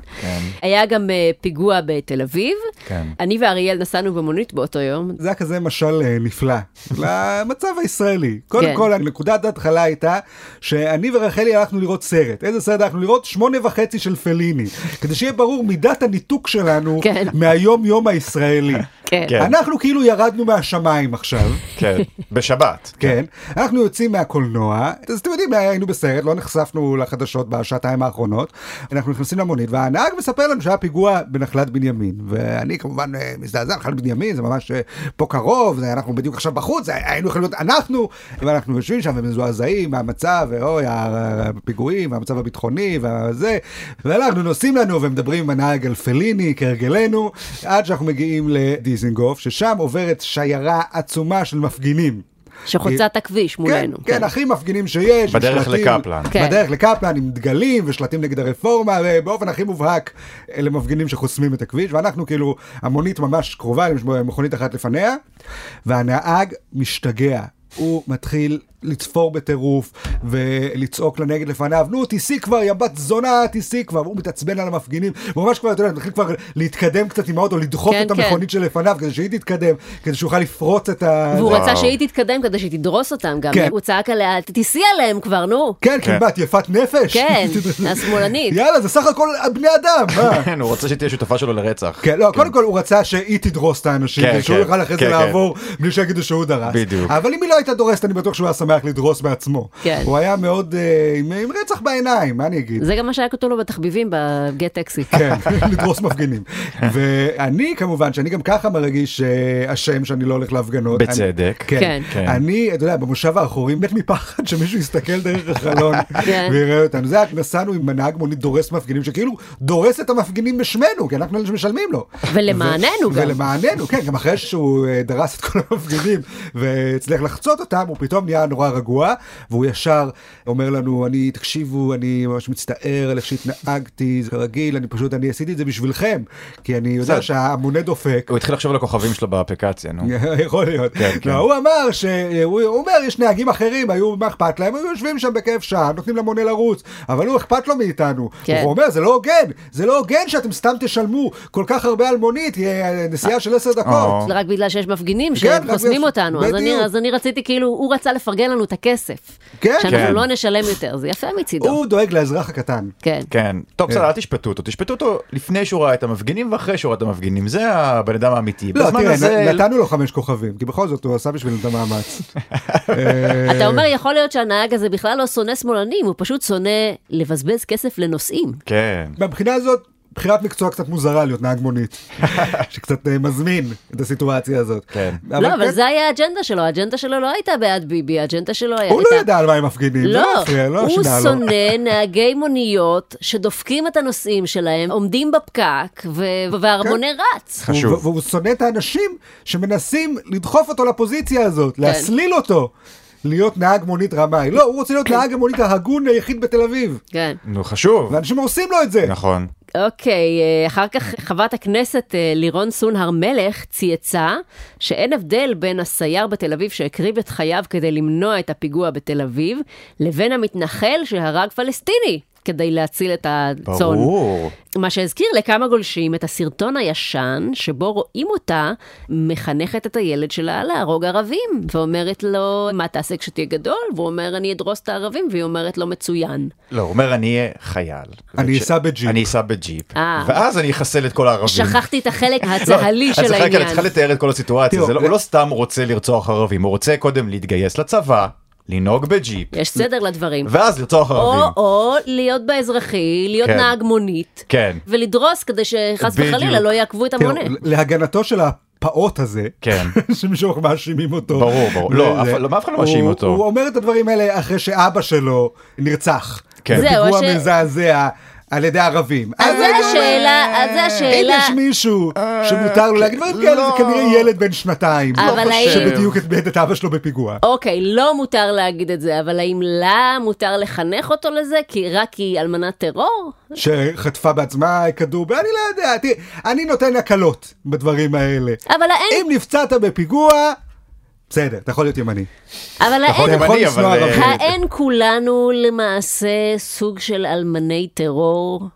S2: היה גם אה, פיגוע בתל אביב
S3: כן.
S2: אני ואריאל נסענו במונית באותו יום
S1: זה היה כזה משל אה, נפלא למצב הישראלי. קודם
S2: כן.
S1: כל, נקודת ההתחלה הייתה שאני ורחלי הלכנו לראות סרט. איזה סרט הלכנו לראות? שמונה וחצי של פליני. כדי שיהיה ברור מידת הניתוק שלנו
S2: כן.
S1: מהיום-יום הישראלי.
S2: כן
S3: כן.
S1: אנחנו כאילו ירדנו מהשמיים עכשיו.
S3: כן, בשבת.
S1: כן, אנחנו יוצאים מהקולנוע, אז אתם יודעים, היינו בסרט, לא נחשפנו לחדשות בשעתיים האחרונות, אנחנו נכנסים למונית, והנהג מספר לנו שהיה פיגוע בנחלת בנימין, ואני כמובן אה, מזדעזע, נחלת בנימין זה ממש אה, פה קרוב, זה, אנחנו בדיוק עכשיו בחוץ, זה, היינו יכולים להיות אנחנו, ואנחנו יושבים שם ומזועזעים מהמצב, ואוי, הפיגועים, והמצב הביטחוני, וזה, ואנחנו נוסעים לנו ומדברים עם הנהג על פליני, כהרגלנו, עד שאנחנו מגיעים לדיזינגוף, ששם עוברת שיירה עצומה של מפגינים.
S2: שחוצה את הכביש מולנו
S1: כן, כן, הכי מפגינים שיש. עם
S3: בדרך
S1: שלטים.
S3: לקפלן.
S2: כן.
S1: בדרך לקפלן עם דגלים ושלטים נגד הרפורמה, ובאופן הכי מובהק אלה מפגינים שחוסמים את הכביש, ואנחנו כאילו, המונית ממש קרובה, יש מכונית אחת לפניה, והנהג משתגע. הוא מתחיל לצפור בטירוף ולצעוק לנגד לפניו, נו תיסעי כבר יא בת זונה תיסעי כבר, והוא מתעצבן על המפגינים, הוא ממש כבר, אתה יודע, מתחיל כבר להתקדם קצת עם האוטו, לדחוף
S2: כן,
S1: את
S2: כן.
S1: המכונית שלפניו כדי שהיא תתקדם, כדי שהוא יוכל לפרוץ את ה...
S2: והוא
S3: וואו.
S2: רצה שהיא תתקדם כדי שהיא תדרוס אותם גם.
S1: כן.
S2: הוא צעק עליה, תיסעי עליהם כבר, נו.
S1: כן, כן,
S3: כן.
S1: מה, את יפת נפש? [LAUGHS]
S2: כן, השמאלנית.
S1: יאללה, זה סך הכל בני אדם,
S3: [LAUGHS]
S1: מה?
S3: כן, הוא רוצה שתהיה שותפה שלו לרצח.
S1: כן, לא, קודם כל הוא רצה שהיא תדרוס את האנשים,
S3: כן,
S1: כדי שהוא
S3: כן,
S1: יוכל אחרי זה
S3: כן, כן.
S1: לעבור בלי שיגידו שהוא דרס.
S3: בדיוק.
S1: אבל אם היא לא הייתה דורסת, אני בטוח שהוא היה שמח לדרוס בעצמו.
S2: כן.
S1: הוא היה מאוד אה, עם- עם רצח בעיניים, מה אני אגיד?
S2: זה גם מה שהיה כתוב לו בתחביבים בגט אקסיט.
S1: כן, [LAUGHS] לדרוס מפגינים. ואני כמובן, שאני גם ככה מרגיש אה, אשם שאני לא הולך להפגנות. אני-
S3: בצדק.
S1: כן.
S3: כן.
S1: אני, אתה יודע, במושב האחורי מת מפחד שמישהו יסתכל דרך החלון
S2: [LAUGHS] כן.
S1: ויראה אותנו. זה היה, נסענו עם נהג מונית דורס מפגינים, שכאילו דורס את המפגינים בשמנו, כי אנחנו אלה שמשלמים לו.
S2: ולמעננו
S1: ו-
S2: גם.
S1: ולמעננו, כן, גם אחרי שהוא אה, דרס את כל המפגינים והצליח לחצות אותם, הוא פתאום נהיה נורא רגוע, והוא ישר אומר לנו, אני, תקשיבו, אני ממש מצטער על איך שהתנהגתי, זה כרגיל, אני פשוט, אני עשיתי את זה בשבילכם, כי אני יודע
S3: בסדר.
S1: שהמונה דופק. [LAUGHS]
S3: הוא התחיל לחשוב על הכוכבים שלו באפליקציה, נו.
S1: יכול להיות.
S3: כן, כן.
S1: לא, הוא אמר ש... הוא הוא אומר, יש נהגים אחרים, היו, מה אכפת להם? היו יושבים שם בכיף שעה, נותנים למונה לרוץ, אבל הוא אכפת לו מאיתנו.
S2: כן.
S1: הוא אומר, זה לא הוגן, זה לא הוגן שאתם סתם תשלמו כל כך הרבה על מונית, אה, נסיעה של עשר דקות.
S3: אה.
S2: רק בגלל שיש מפגינים
S1: נכון. כן, רק
S2: שחוסמים
S1: בגלל ש-
S2: אותנו, אז אני-
S1: בדיוק.
S2: אז אני רציתי כאילו, הוא רצה לפרגן לנו את הכסף.
S1: כן.
S2: שאנחנו
S3: כן.
S2: לא נשלם יותר, זה יפה מצידו.
S1: הוא דואג לאזרח הקטן.
S2: כן.
S3: כן. טוב,
S1: אה.
S3: בסדר, אל תשפטו אותו. תשפטו אותו לפני שהוא ראה את המפגינים ואחרי שהוא ראה את המפגינים. זה הבן אדם האמיתי.
S1: לא,
S3: בזמן
S1: תראה,
S3: הזה-
S1: נ- נתנו לו חמש כוכבים, כי בכל זאת הוא עשה בשבילנו את המאמץ. אה, כן.
S2: אתה אומר, יכול להיות שהנהג הזה בכלל לא שונא שמאלנים, הוא פשוט שונא לבזבז כסף לנוסעים.
S3: כן.
S1: מהבחינה הזאת, בחירת מקצוע קצת מוזרה להיות נהג מונית, שקצת אה, מזמין את הסיטואציה הזאת.
S3: כן.
S2: לא, אבל
S1: כן,
S2: זה היה האג'נדה שלו, האג'נדה שלו לא הייתה בעד ביבי, האג'נדה שלו היה...
S1: הוא לא
S2: הייתה-
S1: ידע על מה הם מפגינים, זה
S2: לא,
S1: הפריע, לא
S2: הוא
S1: שינה לו.
S2: שונא נהגי מוניות שדופקים את הנוסעים שלהם, עומדים בפקק, ו- וההרמונה
S1: כן.
S2: רץ.
S3: חשוב.
S1: הוא- והוא שונא את האנשים שמנסים לדחוף אותו לפוזיציה
S2: כן.
S1: הזאת, להסליל אותו, להיות נהג מונית רמאי. לא, הוא רוצה להיות נהג המונית ההגון היחיד בתל אביב,
S2: כן.
S3: נו, חשוב.
S1: ואנשים עושים לו את זה.
S3: נכון.
S2: אוקיי, אה, אחר כך חברת הכנסת אה, לירון סון הר מלך צייצה שאין הבדל בין הסייר בתל אביב שהקריב את חייו כדי למנוע את הפיגוע בתל אביב, לבין המתנחל שהרג פלסטיני כדי להציל את הצאן.
S3: ברור.
S2: מה שהזכיר לכמה גולשים את הסרטון הישן, שבו רואים אותה מחנכת את הילד שלה להרוג ערבים, ואומרת לו, מה תעשה כשתהיה גדול? והוא אומר, אני אדרוס את הערבים, והיא אומרת לו, מצוין.
S3: לא, הוא אומר, אני אהיה חייל.
S1: אני
S3: וכש-
S1: אסע בג'יפ.
S3: אני אסע בג'יפ.
S2: אה.
S3: ואז אני אחסל את כל הערבים.
S2: שכחתי את החלק
S3: [LAUGHS] לא,
S2: הצהלי
S3: אז
S2: של
S3: חכה,
S2: העניין.
S3: אני צריכה לתאר את כל הסיטואציה.
S1: תראו,
S3: זה לא-
S1: זה-
S3: הוא לא סתם רוצה לרצוח ערבים, הוא רוצה קודם להתגייס לצבא, לנהוג בג'יפ,
S2: יש סדר לדברים.
S3: ואז לרצוח
S2: או,
S3: ערבים.
S2: או להיות באזרחי, להיות
S3: כן.
S2: נהג מונית,
S3: כן.
S2: ולדרוס כדי שחס
S3: בדיוק.
S2: וחלילה לא יעכבו את
S1: תראו,
S2: המונה.
S1: כן, להגנתו של הפעוט הזה, [LAUGHS]
S3: כן.
S1: שמשוך מאשימים אותו.
S3: ברור, ברור. לא,
S1: וזה-
S3: אף- לא, אף אחד לא מאשים
S1: הוא-
S3: אותו.
S1: הוא אומר את הדברים האלה אחרי שאבא שלו נרצח.
S3: כן.
S2: זהו,
S1: פיגוע
S2: הש-
S1: מזעזע על ידי ערבים.
S2: אז זה
S1: אני אומר,
S2: השאלה, אז זה
S1: אם
S2: השאלה.
S1: יש מישהו שמותר לו להגיד דברים כאלה, זה
S3: אה, לא.
S1: כנראה ילד בן שנתיים.
S2: אבל
S1: לא
S2: האם-
S1: שבדיוק איבד את אבא שלו בפיגוע.
S2: אוקיי, לא מותר להגיד את זה, אבל האם לה מותר לחנך אותו לזה? כי רק היא אלמנת טרור?
S1: שחטפה בעצמה כדור, אני לא יודע, תראי, אני נותן הקלות בדברים האלה.
S2: אבל האין,
S1: אם נפצעת בפיגוע, בסדר, אתה יכול להיות ימני.
S2: אבל האין,
S1: כן, אתה
S3: ימני,
S1: יכול לשנוא
S3: אבל, אה,
S1: ערבים.
S2: האין כולנו למעשה סוג של אלמני טרור?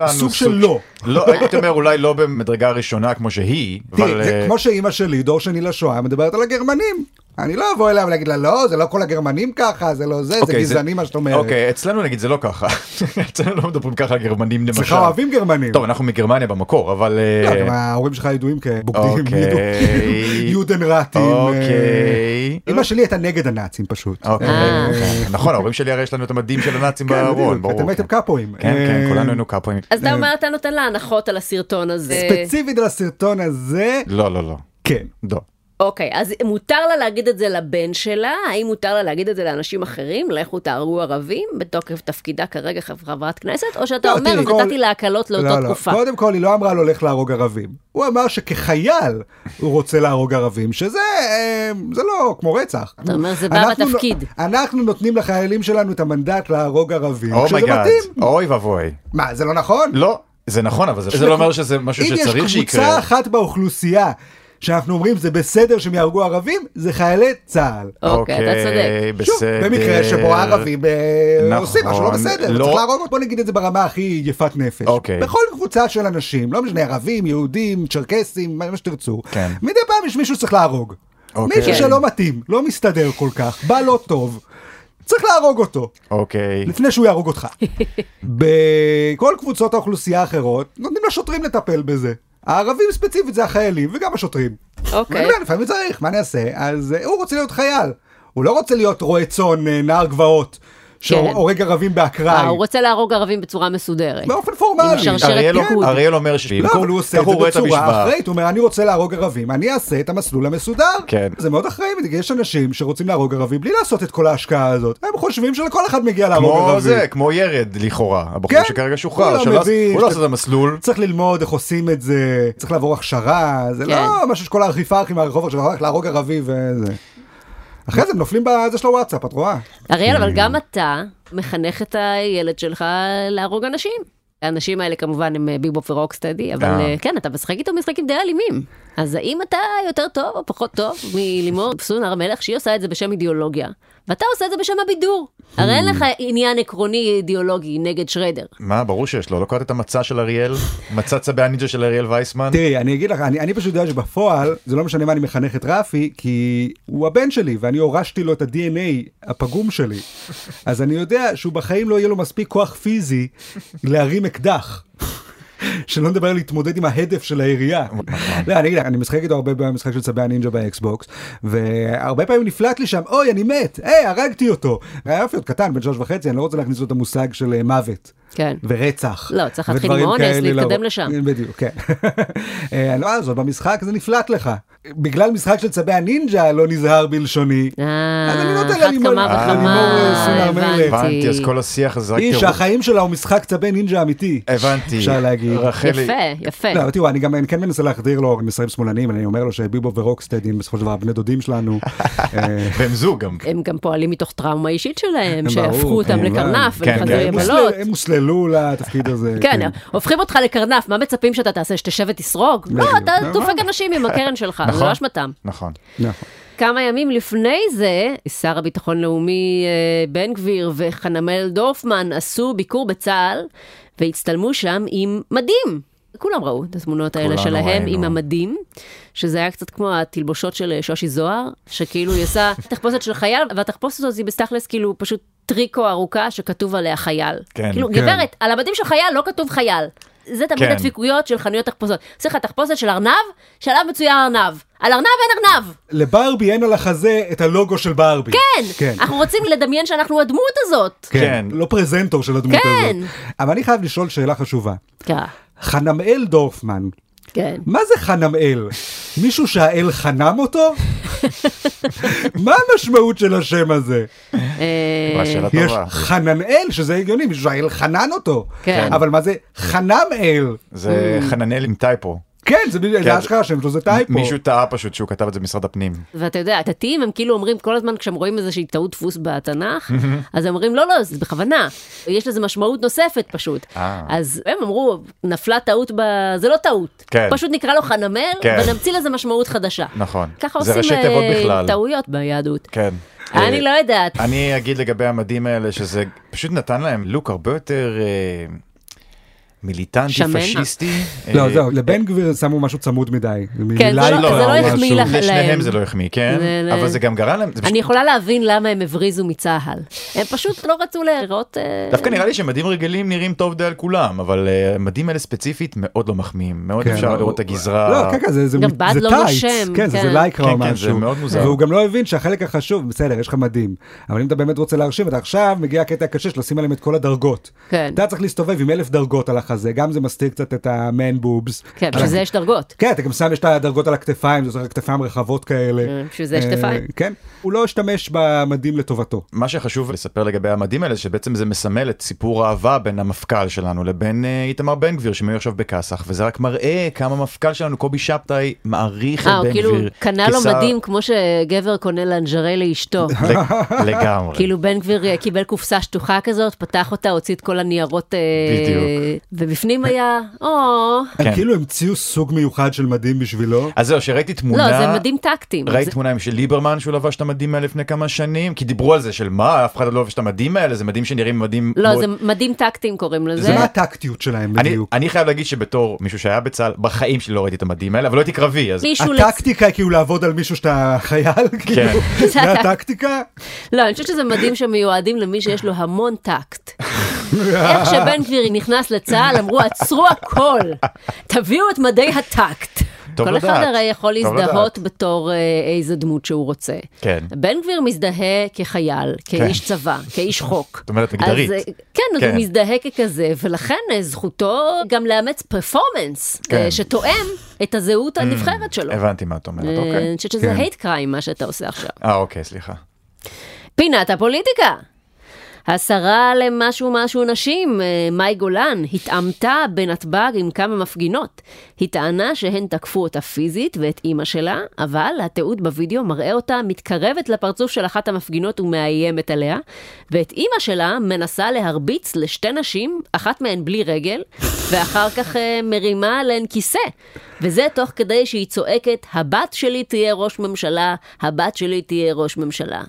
S3: אנו
S1: סוג של לא.
S3: אה, לא, הייתי אומר אולי לא במדרגה ראשונה כמו שהיא, אבל...
S1: תראי, זה
S3: אה,
S1: כמו שאימא שלי, דור שני לשואה, מדברת על הגרמנים. אני לא אבוא אליה ולהגיד לה, לא, זה לא כל הגרמנים ככה, זה לא זה, זה
S3: אוקיי,
S1: גזעני מה שאת אומרת.
S3: אוקיי, אצלנו נגיד זה לא ככה. [LAUGHS] אצלנו לא מדברים ככה על גרמנים למשל.
S1: אצלך אוהבים גרמנים.
S3: טוב, אנחנו מגרמניה במקור, אבל... אה,
S1: לא, גם ההורים שלך ידועים כבוגדים,
S3: אוקיי.
S1: ידו- יודנראטים. אה,
S3: אוקיי.
S1: אימא שלי הייתה נגד הנאצים פשוט.
S3: אוקיי,
S2: אה.
S3: אוקיי. נכון, ההורים שלי הרי יש לנו את המדים של הנאצים
S1: כן,
S3: בארון,
S1: בדיוק,
S3: ברור.
S1: אתם הייתם
S3: כן.
S1: קאפואים.
S3: כן,
S1: אה,
S3: כן, כולנו היינו קאפואים.
S2: אז אתה אומר, אתה נותן לה הנחות על הסרטון הזה.
S1: ספציפית על הסרטון הזה,
S3: לא, לא, לא.
S1: כן.
S3: לא.
S2: אוקיי, אז מותר לה להגיד את זה לבן שלה? האם מותר לה להגיד את זה לאנשים אחרים? לכו תהרגו ערבים בתוקף תפקידה כרגע חב- חברת כנסת? או שאתה
S1: לא,
S2: אומר,
S1: תראי,
S2: אז
S1: כל-
S2: נתתי לה הקלות
S1: לא,
S2: לאותה
S1: לא.
S2: תקופה.
S1: קודם כל, היא לא אמרה לו, הולך להרוג ערבים. הוא אמר שכחייל הוא רוצה להרוג ערבים, שזה אה, זה לא כמו רצח.
S2: אתה אומר, זה בא
S1: אנחנו
S2: בתפקיד.
S1: נו- אנחנו נותנים לחיילים שלנו את המנדט להרוג ערבים, כשזה
S3: אומייגאד,
S1: מתאים.
S3: אוי ואבוי.
S1: מה, זה לא נכון?
S3: Oh לא, זה נכון, אבל זה
S1: זה
S3: זה לא אומר
S1: כמו-
S3: שזה משהו
S1: אם יש
S3: שצריך
S1: קבוצה
S3: שיקרה.
S1: אחת באוכלוסייה שאנחנו אומרים זה בסדר שהם יהרגו ערבים, זה חיילי צה"ל.
S2: אוקיי, אתה צודק.
S1: שוב,
S3: בסדר.
S1: במקרה שבו הערבים אה,
S3: נכון,
S1: עושים משהו לא בסדר,
S3: לא.
S1: צריך להרוג, אותם. בוא נגיד את זה ברמה הכי יפת נפש.
S3: אוקיי.
S1: בכל קבוצה של אנשים, לא משנה, ערבים, יהודים, צ'רקסים, מה מה שתרצו,
S3: כן.
S1: מדי פעם יש מישהו שצריך להרוג.
S3: אוקיי.
S1: מישהו שלא מתאים, לא מסתדר כל כך, בא לא טוב, צריך להרוג אותו.
S3: אוקיי.
S1: לפני שהוא יהרוג
S3: [LAUGHS]
S1: אותך. בכל קבוצות האוכלוסייה האחרות, נותנים לשוטרים לטפל בזה. הערבים ספציפית זה החיילים וגם השוטרים.
S2: אוקיי.
S1: ואני אומר, לפעמים צריך, מה אני אעשה? אז אה, הוא רוצה להיות חייל. הוא לא רוצה להיות רועה צאן, אה, נער גבעות, שהורג ערבים
S2: אה,
S1: באקראי.
S2: הוא כן. רוצה להרוג ערבים בצורה מסודרת.
S1: באופן פורמלי.
S2: עם שרשרת
S3: אריאל לא-
S2: פיקוד.
S3: אריאל אומר שבמקום,
S1: לא, אבל הוא עושה
S3: ככה
S1: את זה
S3: רואה המשוואה.
S1: בצורה אחראית, הוא אומר אני רוצה להרוג ערבים, אני אעשה את המסלול המסודר.
S3: כן.
S1: זה מאוד אחראי, כי יש אנשים שרוצים להרוג ערבים בלי לעשות את כל ההשקעה הזאת. הם חושבים שלכל אחד מגיע להרוג
S3: כמו
S1: ערבים.
S3: זה, כמו ירד לכאורה, הבחור
S1: כן.
S3: שכרגע
S1: הוא
S3: שוחרר,
S1: לא
S3: שלא-
S1: מבין,
S3: הוא לא
S1: שאתה-
S3: עשה את המסלול,
S1: צריך ללמוד איך עושים את זה, צריך לעבור הכשרה, זה
S2: כן.
S1: לא משהו שכל האכיפה הולכים מהרחוב עכשיו, רק להרוג ערבי וזה. אחרי זה הם נופלים בזה של הוואטסאפ, את רואה?
S2: אריאל, אבל גם אתה מחנך את הילד שלך להרוג אנשים. האנשים האלה כמובן הם אה, ביבופ ורוקסטדי, אבל
S3: אה.
S2: אה, כן, אתה משחק איתו משחקים די אלימים. אז האם אתה יותר טוב או פחות טוב מלימור פסון הר מלך, שהיא עושה את זה בשם אידיאולוגיה, ואתה עושה את זה בשם הבידור. הרי אין לך עניין עקרוני אידיאולוגי נגד שרדר.
S3: מה ברור שיש לו, לא קראת את המצע של אריאל, מצע צבי הנינג'ה של אריאל וייסמן,
S1: תראי, אני אגיד לך, אני, אני פשוט יודע שבפועל, זה לא משנה מה אני מחנך את רפי, כי הוא הבן שלי, ואני הורשתי לו את ה-DNA הפגום שלי. אז אני יודע שהוא בחיים לא יהיה לו מספיק כוח פיזי להרים אקדח. שלא נדבר על להתמודד עם ההדף של העירייה. לא, אני אגיד לך, אני משחק איתו הרבה במשחק של צבי הנינג'ה באקסבוקס, והרבה פעמים נפלט לי שם, אוי, אני מת, היי, הרגתי אותו. היה יופי עוד קטן, בן שלוש וחצי, אני לא רוצה להכניס לו את המושג של אה, מוות.
S2: כן.
S1: ורצח.
S2: לא, צריך להתחיל
S1: ודברים
S2: מאונס,
S1: כאלה
S2: להתקדם
S1: לרוב.
S2: לשם.
S1: בדיוק, כן. אה, לא, אז עוד במשחק זה נפלט לך. בגלל משחק של צבי הנינג'ה לא נזהר בלשוני.
S2: אה,
S1: אז אני נותן
S2: אחת
S1: ללימור-
S2: כמה
S1: אה,
S2: וכמה,
S1: לימור סון הר מלך.
S3: הבנתי, אז כל השיח הזה רק
S1: היא
S3: תיאור,
S1: שהחיים שלה הוא משחק צבי נינג'ה אמיתי.
S3: הבנתי,
S1: אפשר להגיד.
S3: רחלי,
S2: יפה, יפה.
S1: לא, אבל תראו, אני גם אני כן מנסה להחדיר לו מסרים שמאלניים, אני אומר לו שביבו ורוקסטד הם בסופו של דבר בני דודים
S3: [LAUGHS]
S1: שלנו. אה,
S3: והם זוג גם,
S2: הם גם פועלים מתוך טראומה אישית שלהם,
S1: ברור,
S2: שהפכו אותם
S1: כמובן.
S2: לקרנף
S3: כן,
S2: ולחדרי
S1: הם הוסל-
S2: יבלות.
S1: הם הוסללו לתפקיד הזה.
S2: כן, הופכים אותך לקרנף, מה מצפים שאתה תעשה? שתשב ותסרוג? לא,
S1: בדיוק,
S2: אתה
S1: נכון.
S2: דופק אנשים עם הקרן שלך, זה
S3: נכון.
S2: לא אשמתם.
S3: נכון,
S1: נכון.
S2: כמה ימים לפני זה, שר הביטחון לאומי אה, בן גביר וחנמל דורפמן עשו ביקור בצה"ל, והצטלמו שם עם מדים. כולם ראו את התמונות האלה
S3: כולנו
S2: שלהם
S3: ראינו.
S2: עם המדים, שזה היה קצת כמו התלבושות של אה, שושי זוהר, שכאילו היא
S3: [LAUGHS]
S2: עושה תחפושת של חייל, והתחפושת הזאת היא בתכלס כאילו פשוט טריקו ארוכה שכתוב עליה חייל.
S3: כן,
S2: כאילו,
S3: כן.
S2: גברת, על הבדים של חייל לא כתוב חייל. זה תמיד
S3: כן.
S2: הדפיקויות של חנויות תחפושות. עושה לך תחפושת של ארנב, שעליו מצויר ארנב. על ארנב אין ארנב!
S1: לברבי אין על החזה את הלוגו של ברבי.
S2: כן, אנחנו רוצים לדמיין שאנחנו הדמות הזאת.
S1: כן.
S3: כן.
S1: לא פרזנטור של הדמות
S2: כן.
S1: הזאת. אבל אני חייב לשאול שאלה חשובה.
S2: כן,
S1: חנמאל דורפמן,
S2: כן.
S1: מה זה חנמאל? מישהו שהאל חנם
S2: [LAUGHS]
S1: אותו? מה המשמעות של השם הזה?
S2: אה,
S3: מה שאלה
S1: יש
S3: טובה,
S1: חננאל, שזה הגיוני, מישהו שהאל חנן אותו.
S2: כן.
S1: אבל מה זה חנמאל?
S3: זה חננאל עם טייפו,
S1: כן, זה בדיוק- זה
S3: זה-
S1: אשכרה השם שלו, זה טייפו.
S3: מישהו טעה פשוט שהוא כתב את זה במשרד הפנים,
S2: ואתה יודע, הדתיים הם כאילו אומרים כל הזמן כשהם רואים איזושהי טעות דפוס בתנ"ך,
S3: Mm-hmm.
S2: אז הם אומרים לא, לא, זה בכוונה. יש לזה משמעות נוספת פשוט.
S3: אה.
S2: אז הם אמרו, נפלה טעות ב... זה לא טעות.
S3: כן.
S2: פשוט נקרא לו חנמל,
S3: כן.
S2: ונמציא לזה משמעות חדשה.
S3: נכון,
S2: ככה
S3: זה
S2: עושים
S3: ראשי
S2: אה,
S3: תיבות בכלל,
S2: טעויות ביהדות.
S3: כן,
S2: אני
S3: אה,
S2: לא יודעת.
S3: אני אגיד לגבי המדים האלה שזה פשוט נתן להם לוק הרבה יותר אה, מיליטנטי,
S2: שמן.
S3: פשיסטי.
S1: לא,
S3: אה,
S1: זהו, לבן גביר שמו משהו צמוד מדי.
S2: כן, זה
S1: מילה
S2: לא-
S1: איתו
S2: זה לא
S1: או
S2: החמיא
S1: משהו.
S2: לך. להם.
S3: לשניהם זה לא החמיא, כן?
S2: זה- זה-
S3: אבל זה גם גרם להם, זה פשוט-
S2: אני יכולה להבין למה הם הבריזו מצה"ל. הם פשוט לא רצו להיראות... אה,
S3: דווקא נראה לי שמדים רגילים נראים טוב די על כולם, אבל אה, מדים אלה ספציפית מאוד לא מחמיאים, מאוד
S1: כן,
S3: אפשר
S1: הוא-
S3: לראות את
S1: לא,
S3: הגזרה.
S1: כן, כן, זה זה-
S2: גם
S1: זה
S2: בד לא
S1: טייץ.
S2: נושם,
S1: כן, זה
S2: כן.
S1: זה לייקרה או
S3: כן, כן,
S1: משהו.
S3: זה מאוד מוזר.
S1: והוא גם לא הבין שהחלק החשוב, בסדר, יש לך מדים, אבל אם אתה באמת רוצה להרשים, אתה עכשיו מגיע הקטע הקשה של לשים עליהם את כל הדרגות.
S2: כן.
S1: אתה צריך להסתובב עם אלף דרגות על החזה, גם זה מסתיר קצת את המן בובס.
S2: כן, בשביל זה יש דרגות.
S1: כן, אתה גם שם, יש את הדרגות על הכתפיים, זה עושה כתפיים רחבות כאלה.
S2: אה, בשביל זה יש כתפיים.
S1: אה, כן. הוא לא השתמש במדים לטובתו.
S3: מה שחשוב לספר לגבי המדים האלה, שבעצם זה מסמל את סיפור האהבה בין המפכ"ל שלנו לבין אה, איתמר בן גביר, שהם היו עכשיו בכסאח, וזה רק מראה כמה המפכ"ל שלנו, קובי שבתאי, מעריך את
S2: אה, הוא
S3: בן
S2: כאילו
S3: גביר.
S2: קנה לו
S3: כשר-
S2: מדים כמו שגבר קונה לנג'רי
S3: [LAUGHS]
S2: לאשתו. [LAUGHS]
S3: לג- לגמרי.
S2: כאילו בן גביר אה, קיבל קופסה שטוחה כזאת, פתח אותה, הוציא את כל הניירות. אה,
S3: בדיוק.
S2: ובפנים היה, או,
S1: הם
S3: כן.
S1: כאילו המציאו סוג מיוחד של מדים בשבילו.
S3: אז זהו, שראיתי תמונה...
S2: לא, זה מדים טקטיים.
S3: ראיתי
S2: זה-
S3: תמונה עם של ליברמן שהוא לבש את המדים האלה לפני כמה שנים, כי דיברו על זה של מה, אף אחד לא לובש את המדים האלה, זה מדים שנראים מדים...
S2: לא,
S3: מאוד-
S2: זה מדים טקטיים קוראים לזה.
S1: זה מה הטקטיות שלהם
S3: אני,
S1: בדיוק.
S3: אני חייב להגיד שבתור מישהו שהיה בצה"ל, בחיים שלי לא ראיתי את המדים האלה, אבל לא הייתי קרבי, אז...
S2: מישהו לצ...
S1: הטקטיקה היא כאילו לעבוד על מישהו שאתה חייל,
S3: כן.
S1: כאילו,
S2: [LAUGHS] זה
S1: זה הטקטיקה.
S2: לא, אני חושבת שזה מדים שמיועדים למי שיש לו המון טקט.
S3: [LAUGHS]
S2: איך שבן גביר נכנס לצה"ל, אמרו, עצרו הכל, תביאו את מדי הטקט.
S3: טוב
S2: כל אחד
S3: לדעת,
S2: הרי יכול
S3: טוב
S2: להזדהות
S3: לדעת.
S2: בתור אה, איזה דמות שהוא רוצה.
S3: כן.
S2: בן גביר מזדהה כחייל, כאיש צבא, כאיש חוק.
S3: זאת אומרת, מגדרית.
S2: אז, אה, כן, אז הוא
S3: כן.
S2: מזדהה ככזה, ולכן אה, זכותו גם לאמץ פרפורמנס אה,
S3: כן. Mm.
S2: שתואם את הזהות הנבחרת שלו.
S3: הבנתי מה את אומרת,
S2: אה,
S3: אוקיי.
S2: אני חושבת שזה
S1: כן.
S2: hate crime מה שאתה עושה עכשיו.
S3: אה, אוקיי, סליחה.
S2: פינת הפוליטיקה. השרה למשהו משהו נשים, אה, מאי גולן, התעמתה בנתב"ג עם כמה מפגינות. היא טענה שהן תקפו אותה פיזית ואת אימא שלה, אבל התיעוד בווידאו מראה אותה מתקרבת לפרצוף של אחת המפגינות ומאיימת עליה, ואת אימא שלה מנסה להרביץ לשתי נשים, אחת מהן בלי רגל, ואחר כך אה, מרימה עליהן כיסא. וזה תוך כדי שהיא צועקת, הבת שלי תהיה ראש ממשלה, הבת שלי תהיה ראש ממשלה.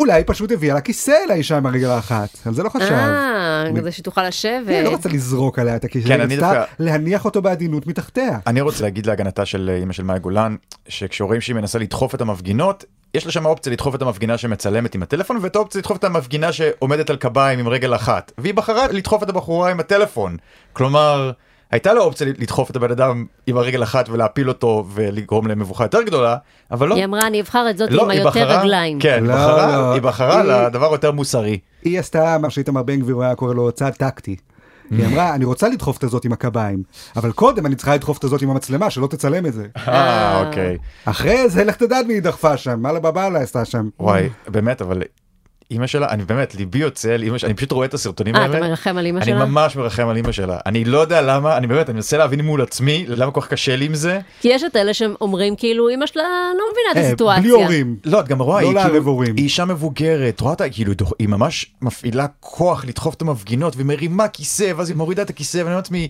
S1: אולי היא פשוט הביאה לה כיסא לאישה עם הרגל האחת, על זה לא חשב.
S2: אה, כדי שתוכל
S1: היא
S2: לשבת.
S1: לא רצה לזרוק עליה את הכיסא,
S3: כן,
S1: היא
S3: אני
S1: רצתה
S3: דווקא-
S1: להניח אותו בעדינות מתחתיה.
S3: אני רוצה להגיד להגנתה של אה, אמא של מאי גולן, שכשרואים שהיא מנסה לדחוף את המפגינות, יש לה שם אופציה לדחוף את המפגינה שמצלמת עם הטלפון, ואת האופציה לדחוף את המפגינה שעומדת על קביים עם רגל אחת. והיא בחרה לדחוף את הבחורה עם הטלפון. כלומר, הייתה לה אופציה לדחוף את הבן אדם עם הרגל אחת ולהפיל אותו ולגרום למבוכה יותר גדולה, אבל לא.
S2: היא אמרה, אני אבחר את זאת
S3: לא,
S2: עם היותר רגליים.
S3: כן,
S1: לא,
S3: היא בחרה-
S1: לא.
S3: היא בחרה
S1: היא-
S3: לדבר היותר מוסרי.
S1: היא עשתה מה שאיתמר בן גביר היה קורא לו צעד טקטי. היא
S3: Mm.
S1: אמרה, אני רוצה לדחוף את הזאת עם הקביים, אבל קודם אני צריכה לדחוף את הזאת עם המצלמה, שלא תצלם את זה.
S3: אה, אוקיי.
S1: אחרי זה, לך תדע את מי היא דחפה שם, מה לבבלה עשתה שם.
S3: וואי, באמת, אבל אימא שלה, אני באמת, ליבי יוצא על אימא שלה, אני פשוט רואה את הסרטונים
S2: אה,
S3: האלה.
S2: אתה מרחם על אמא
S3: אני
S2: שלה?
S3: ממש מרחם על אימא שלה. אני לא יודע למה, אני באמת, אני מנסה להבין מול עצמי, למה כל כך קשה לי עם זה.
S2: כי יש את אלה שאומרים, כאילו, אמא שלה לא מבינה את
S1: אה,
S2: הסיטואציה.
S1: בלי הורים.
S3: לא, את גם רואה,
S1: לא
S3: היא כאילו-
S1: לערב הורים.
S3: היא אישה מבוגרת, רואה אותה, כאילו, דוח- היא ממש מפעילה כוח לדחוף את המפגינות, והיא מרימה כיסא, ואז היא מורידה את הכיסא, ואני אומר לעצמי,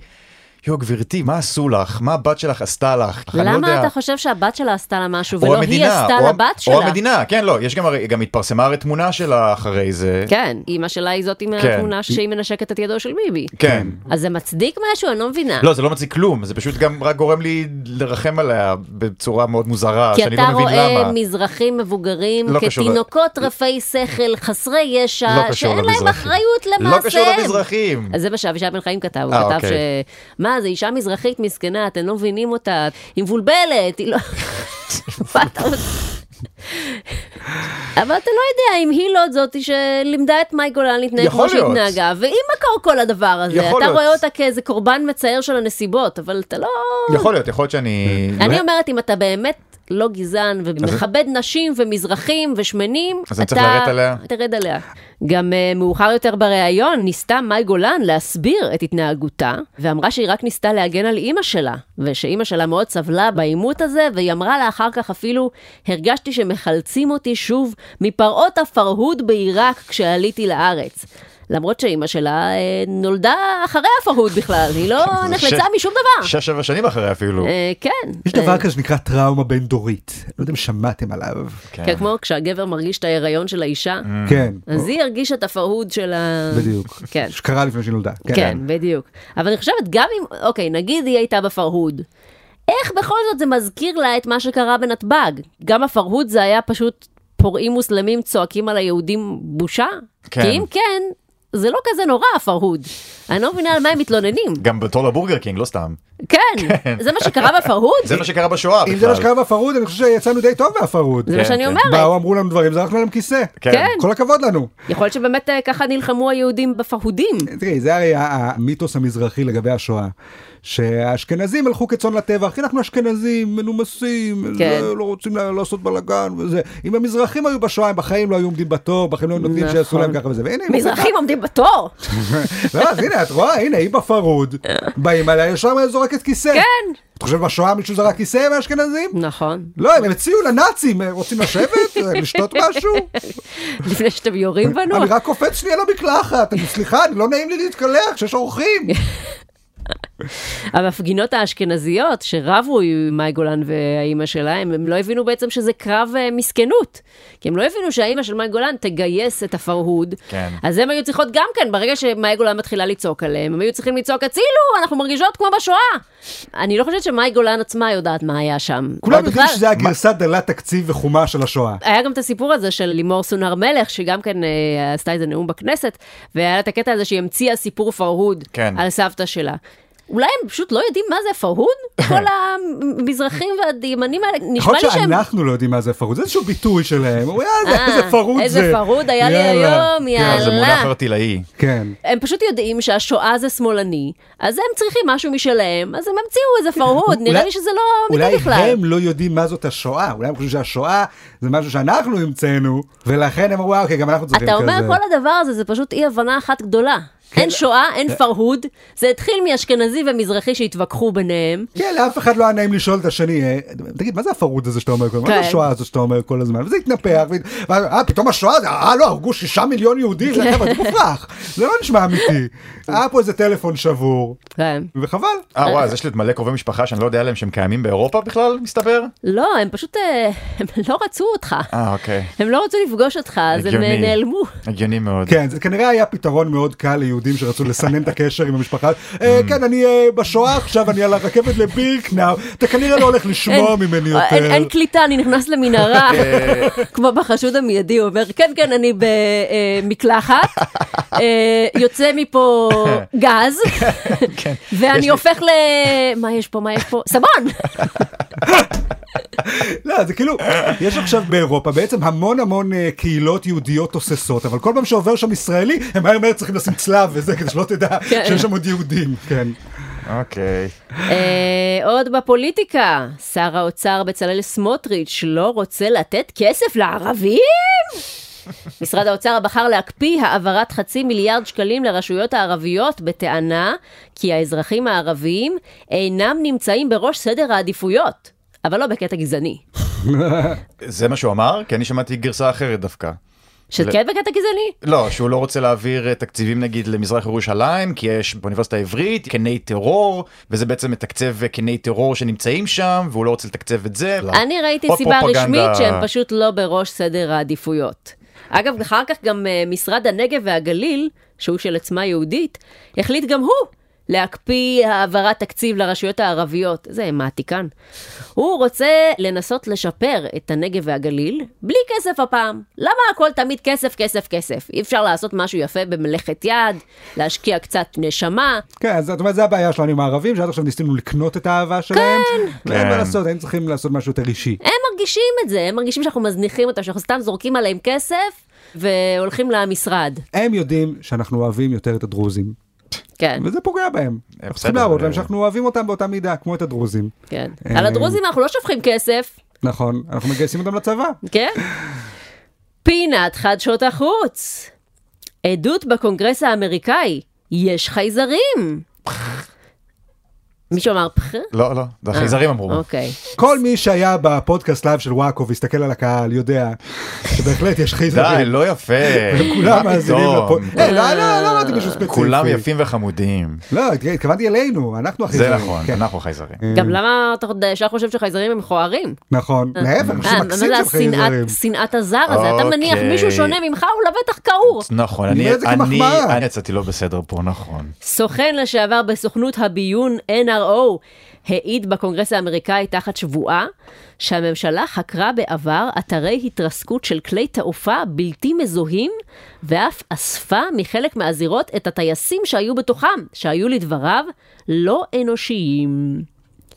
S3: יו, גברתי, מה עשו לך? מה הבת שלך עשתה לך? אני לא
S2: למה
S3: יודע."
S2: אתה חושב שהבת שלה עשתה לה משהו,
S3: או
S2: ולא היא
S3: המדינה,
S2: עשתה
S3: או-
S2: לבת שלה?
S3: או המדינה, כן, לא, יש גם, הרי- גם התפרסמה הרי תמונה שלה אחרי זה.
S2: כן, אמא שלה היא זאת עם
S3: כן.
S2: התמונה שהיא מנשקת את ידו של ביבי.
S3: כן.
S2: אז זה מצדיק משהו? אני לא מבינה.
S3: לא, זה לא מציג כלום, זה פשוט גם רק גורם לי לרחם עליה בצורה מאוד מוזרה,
S2: כי
S3: שאני
S2: אתה
S3: לא מבין
S2: רואה
S3: למה.
S2: מזרחים מבוגרים
S3: לא קשור ל-
S2: כתינוקות רפי שכל, חסרי ישע,
S3: לא קשור
S2: שאין להם
S3: למזרחים.
S2: אחריות
S3: לא
S2: למעשיהם.
S3: קשור למזרחים.
S2: אז זה מה שאבישי בן חיים כתב, הוא
S3: אה,
S2: כתב ש...
S3: אוקיי.
S2: מה, זו אישה מזרחית מסכנה, אתם לא מבינים אותה, היא מבולבלת, היא לא... [LAUGHS] מה אתה רוצה? אבל אתה לא יודע אם היא לא זאת שלימדה את מאי גולן להתנהג כמו
S3: יכול
S2: שהיא
S3: להיות.
S2: התנהגה, והיא מקור כל הדבר הזה.
S3: יכול
S2: אתה
S3: להיות.
S2: רואה אותה כאיזה קורבן מצער של הנסיבות, אבל אתה לא...
S3: יכול להיות, יכול להיות שאני...
S2: אני אומרת, אם אתה באמת לא גזען ומכבד נשים ומזרחים ושמנים,
S3: אז אני צריך לרדת עליה?
S2: תרד עליה. גם uh, מאוחר יותר בריאיון ניסתה מאי גולן להסביר את התנהגותה, ואמרה שהיא רק ניסתה להגן על אימא שלה, ושאימא שלה מאוד סבלה בעימות הזה, והיא אמרה לה אחר כך אפילו, הרגשתי שמחלצים אותי שוב מפרעות הפרהוד בעיראק כשעליתי לארץ. למרות שאימא שלה אה, נולדה אחרי הפרהוד בכלל, היא לא
S3: זה
S2: נחלצה
S3: [LAUGHS] ש-
S2: משום דבר.
S3: שש, שבע שנים אחרי אפילו.
S2: אה, כן.
S1: יש דבר כזה שנקרא טראומה בין דורית, לא יודע אם שמעתם עליו.
S2: כן, כמו כשהגבר מרגיש את ההיריון של האישה,
S3: אה.
S1: כן,
S2: אז היא הרגישה את הפרהוד של ה...
S1: בדיוק.
S2: כן.
S1: שקרה לפני שהיא נולדה.
S2: כן, בדיוק. אבל אני חושבת, גם אם, אוקיי, נגיד היא הייתה בפרהוד, איך בכל זאת זה מזכיר לה את מה שקרה בנתב"ג? גם הפרהוד זה היה פשוט פורעים מוסלמים צועקים על היהודים בושה?
S3: כן.
S2: כי אם כן, זה לא כזה נורא הפרהוד. אני לא מבינה על מה הם מתלוננים.
S3: גם בתור לבורגר קינג, לא סתם.
S2: כן, זה מה שקרה בפרהוד?
S3: זה מה שקרה בשואה
S1: אם זה מה
S3: אה, בכלל.
S1: שקרה בפרהוד, אני חושב שיצאנו די טוב מהפרהוד.
S2: זה מה
S3: כן,
S2: שאני
S3: כן.
S2: אומרת.
S1: באו, אמרו לנו דברים, זרקנו להם כיסא.
S3: כן.
S2: כן.
S1: כל הכבוד לנו.
S2: יכול להיות שבאמת אה, ככה נלחמו היהודים בפרהודים.
S1: תראי, זה הרי המיתוס המזרחי לגבי השואה. שהאשכנזים הלכו כצאן לטבח, כי אנחנו אשכנזים, מנומסים,
S2: כן.
S1: זה, לא רוצים לה- לעשות בלאגן וזה. אם המזרחים היו בשואה, הם בחיים לא היו עומדים בתור, בחיים לא היו נותנים
S2: נכון.
S1: שיעשו להם ככה וזה. והנה, הם
S2: מזרחים
S1: [LAUGHS]
S2: עומדים בתור.
S1: עושים- לא, אז הנה, את רואה, הנה, היא בפרוד, באים עליה, ישר זורקת כיסא.
S2: אה. כן.
S1: את חושבת בשואה מישהו זרק כיסא מהאשכנזים?
S2: נכון.
S1: לא, הם הציעו לנאצים, הם רוצים לשבת, אה, לשתות משהו?
S2: לפני שאתם
S1: [LAUGHS]
S2: יורים בנו.
S1: לא
S2: [LAUGHS]
S1: אני רק קופץ שנייה למקלחת, אני- סליחה, אני לא נעים לי להתקלח כשיש אורחים.
S2: המפגינות האשכנזיות שרבו עם מאי גולן והאימא שלהם, הם לא הבינו בעצם שזה קרב אה, מסכנות. כי הם לא הבינו שהאימא של מאי גולן תגייס את הפרהוד.
S3: כן.
S2: אז הם היו צריכות גם כן, ברגע שמאי גולן מתחילה לצעוק עליהם, הם היו צריכים לצעוק, הצילו, אנחנו מרגישות כמו בשואה. אני לא חושבת שמאי גולן עצמה יודעת מה היה שם.
S1: כולם
S2: אבל
S1: יודעים
S2: בכלל-
S1: שזה הגרסה דלת תקציב וחומה של השואה.
S2: היה גם את הסיפור הזה של לימור סון הר מלך, שגם כן אה, עשתה איזה נאום בכנסת, והיה לה את הקטע הזה שהיא המציאה סיפור פרהוד
S3: כן.
S2: על סבתא שלה. אולי הם פשוט לא יודעים מה זה פרהוד?
S1: [LAUGHS]
S2: כל המזרחים והימנים האלה,
S1: יכול
S2: נשמע לי
S1: להיות
S2: שהם...
S1: שאנחנו לא יודעים מה זה פרוד, זה איזשהו ביטוי שלהם, אומרים, "אה,
S2: אה,
S1: איזה פרוד זה.
S2: איזה פרוד היה לי
S1: יאללה.
S2: היום, לא
S1: כן,
S2: יאללה.
S3: זה מונח ארטילאי.
S1: כן.
S2: הם פשוט יודעים שהשואה זה שמאלני, אז הם צריכים משהו משלהם, אז הם המציאו איזה פרהוד, נראה
S1: אולי-
S2: לי שזה לא אמיתי בכלל.
S1: אולי הם לא יודעים מה זאת השואה, אולי הם חושבים שהשואה זה משהו שאנחנו המצאנו, ולכן הם אמרו, "אה, אוקיי, גם אנחנו צריכים
S2: אתה
S1: כזה. כן.
S2: אומר כל הדבר הזה, זה פשוט אי הבנה אחת גדולה. אין שואה, אין פרהוד, זה התחיל מאשכנזי ומזרחי שהתווכחו ביניהם.
S1: כן, לאף אחד לא היה נעים לשאול את השני, "אה, תגיד, מה זה הפרוד הזה שאתה אומר כל הזמן? מה
S2: כן.
S1: זה השואה הזאת שאתה אומר כל הזמן? וזה התנפח, ו- ואז, אה, פתאום השואה, זה- אה, לא, הרגו שישה מיליון יהודים,
S2: כן.
S1: זה חבר'ה, זה מופרך, זה לא נשמע
S2: [LAUGHS]
S1: אמיתי. היה פה איזה טלפון שבור,
S2: כן.
S1: וחבל.
S3: אה וואי, אז יש לי עוד מלא קרובי משפחה שאני לא יודע עליהם שהם קיימים באירופה בכלל, מסתבר?
S2: לא, הם פשוט, אה, הם [LAUGHS] לא רצו אותך.
S3: אה, אוקיי.
S2: הם לא רצו לפגוש אותך, אז הם אה,
S3: הגיוני.
S2: נעלמו.
S3: הגיוני מאוד.
S1: כן, זה כנראה היה פתרון מאוד קל ליהודים שרצו לסנן את הקשר עם המשפחה. "אה,
S2: Mm.
S1: כן, אני אה, בשואה עכשיו, אני על הרכבת לבירקנאו, אתה כנראה לא הולך לשמוע
S2: אין-
S1: ממני
S2: אה, אין-
S1: יותר.
S2: אין קליטה, אני נכנס למנהרה,
S3: אה.
S2: [LAUGHS] כמו בחשוד המיידי, הוא אומר, כן, כן, אני
S3: [LAUGHS]
S2: במקלחת, אה, יוצא מפה גז,
S3: כן.
S2: [LAUGHS]
S3: יש
S2: ואני
S3: לי-
S2: הופך ל... מה יש פה, מה יש פה?
S3: [LAUGHS]
S2: סבון!
S1: לא, זה כאילו, יש עכשיו באירופה בעצם המון המון אה, קהילות יהודיות תוססות, אבל כל פעם שעובר שם ישראלי, הם מהר מהר צריכים לשים צלב וזה, כדי שלא תדע
S2: כן.
S1: שיש שם עוד יהודים, כן.
S3: אוקיי.
S2: אה, עוד בפוליטיקה, שר האוצר בצלאל סמוטריץ' לא רוצה לתת כסף לערבים? משרד האוצר בחר להקפיא העברת חצי מיליארד שקלים לרשויות הערביות בטענה כי האזרחים הערבים אינם נמצאים בראש סדר העדיפויות, אבל לא בקטע גזעני.
S3: זה מה שהוא אמר? כי אני שמעתי גרסה אחרת דווקא.
S2: שכן כן בקטע גזעני?
S3: לא, שהוא לא רוצה להעביר אה, תקציבים נגיד למזרח ירושלים, כי יש באוניברסיטה העברית קני טרור, וזה בעצם מתקצב אה, קני טרור שנמצאים שם, והוא לא רוצה לתקצב את זה.
S2: אני ראיתי
S3: עוד
S2: סיבה
S3: פרופגנדה.
S2: רשמית שהם פשוט לא בראש סדר העדיפויות. אגב, אחר כך גם אה, משרד הנגב והגליל, שהוא של עצמה יהודית, החליט גם הוא להקפיא העברת תקציב לרשויות הערביות. זה מעתיקן. הוא רוצה לנסות לשפר את הנגב והגליל, בלי כסף הפעם. למה הכל תמיד כסף, כסף, כסף? אי אפשר לעשות משהו יפה במלאכת יד, להשקיע קצת נשמה.
S1: כן, אז זאת אומרת, זה הבעיה שלנו עם הערבים, שעד עכשיו ניסינו לקנות את האהבה שלהם. כן. אין מה
S3: כן.
S1: לעשות, הם צריכים לעשות משהו יותר אישי.
S2: הם מרגישים את זה, הם מרגישים שאנחנו מזניחים אותם, שאנחנו סתם זורקים עליהם כסף והולכים למשרד.
S1: הם יודעים שאנחנו אוהבים יותר את הדרוזים,
S2: כן,
S1: וזה פוגע בהם. אנחנו צריכים
S3: אה, בסדר,
S1: להראות
S3: אבל-
S1: להם שאנחנו אוהבים אותם באותה מידה, כמו את הדרוזים.
S2: כן.
S1: אה,
S2: על הדרוזים אנחנו לא שופכים כסף,
S1: נכון, אנחנו מגייסים אותם לצבא.
S2: כן? פינת חדשות החוץ. עדות בקונגרס האמריקאי, יש חייזרים. מישהו אמר פח?
S3: לא, לא, זה החייזרים אמרו.
S2: אוקיי.
S1: כל מי שהיה בפודקאסט לייב של וואקו והסתכל על הקהל יודע שבהחלט יש
S3: די,
S1: חייזרים.
S3: לא יפה.
S1: כולם
S3: מה
S1: מאזינים
S3: פתאום? כן.
S1: לפוד... אה, לא, לא, לא אמרתי מישהו ספציפי.
S3: כולם יפים וחמודים.
S1: לא, התכוונתי אלינו, אנחנו הכי
S3: זה
S1: זרים,
S3: נכון,
S1: כן.
S3: אנחנו חייזרים.
S2: גם למה אתה יודע, ישר חושב שחייזרים הם מכוערים?
S1: נכון, להפך,
S2: אה,
S1: זה מקסים
S2: מה זה
S1: של חייזרים.
S2: השנאת- שנאת הזר הזה? אתה מניח
S3: אוקיי.
S2: מישהו שונה ממך, הוא לבטח כעור.
S3: נכון,
S1: אני
S3: אני
S1: אומר את זה
S3: אני-
S1: כמחמאה.
S3: אני יצאתי לא בסדר פה, נכון.
S2: סוכן לשעבר בסוכנות הביון NRO העיד בקונגרס האמריקאי תחת שבועה שהממשלה חקרה בעבר אתרי התרסקות של כלי תעופה בלתי מזוהים ואף אספה מחלק מהזירות את הטייסים שהיו בתוכם, שהיו לדבריו לא אנושיים.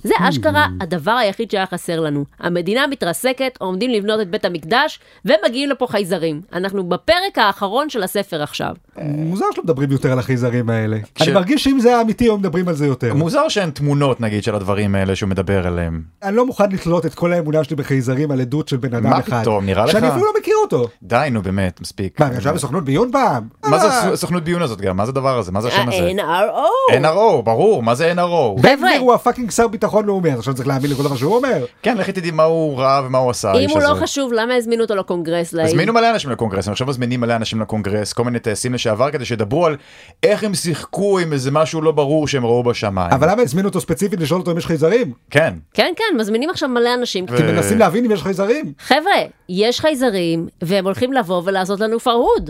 S2: זה אשכרה הדבר היחיד שהיה חסר לנו. המדינה מתרסקת, עומדים לבנות את בית המקדש ומגיעים לפה חייזרים. אנחנו בפרק האחרון של הספר עכשיו.
S1: מוזר שלא מדברים יותר על החייזרים האלה.
S3: כש-
S1: אני מרגיש שאם זה היה אמיתי, היו מדברים על זה יותר.
S3: מוזר שאין תמונות נגיד של הדברים האלה שהוא מדבר עליהם.
S1: אני לא מוכן לתלות את כל האמונה שלי בחייזרים על עדות של בן אדם
S3: מה
S1: אחד.
S3: פתאום, נראה לך?
S1: שאני אפילו לא מכיר אותו.
S3: די, נו באמת, מספיק. אה,
S1: מה, אני ישב בסוכנות ביון פעם?
S3: מה זה
S1: אה,
S3: הסוכנות ביון הזאת
S2: אה,
S3: גם? מה זה הדבר הזה? מה זה השם הזה?
S2: ה-NRO.
S3: NRO, ברור, מה זה NRO?
S1: בן גביר
S2: חבר'ה.
S1: הוא הפאקינג שר ביטחון ביטחון לאומי, אז עכשיו צריך להאמין לכל דבר שהוא אומר.
S3: כן, לכי תדעי מה הוא ראה ומה הוא עשה.
S2: אם
S3: האיש
S2: הוא לא
S3: הזה.
S2: חשוב, למה הזמינו אותו לקונגרס? להעיד?
S3: הזמינו מלא אנשים לקונגרס, עכשיו מזמינים מלא אנשים לקונגרס, כל מיני טייסים לשעבר כדי שידברו על איך הם שיחקו עם איזה משהו לא ברור שהם ראו בשמיים.
S1: אבל למה הזמינו אותו ספציפית לשאול אותו אם יש חייזרים?
S3: כן.
S2: כן, כן, מזמינים עכשיו מלא אנשים.
S3: ו-
S1: כי מנסים להבין אם יש חייזרים.
S2: חבר'ה, יש חייזרים, והם הולכים לבוא ולעשות לנו פרהוד.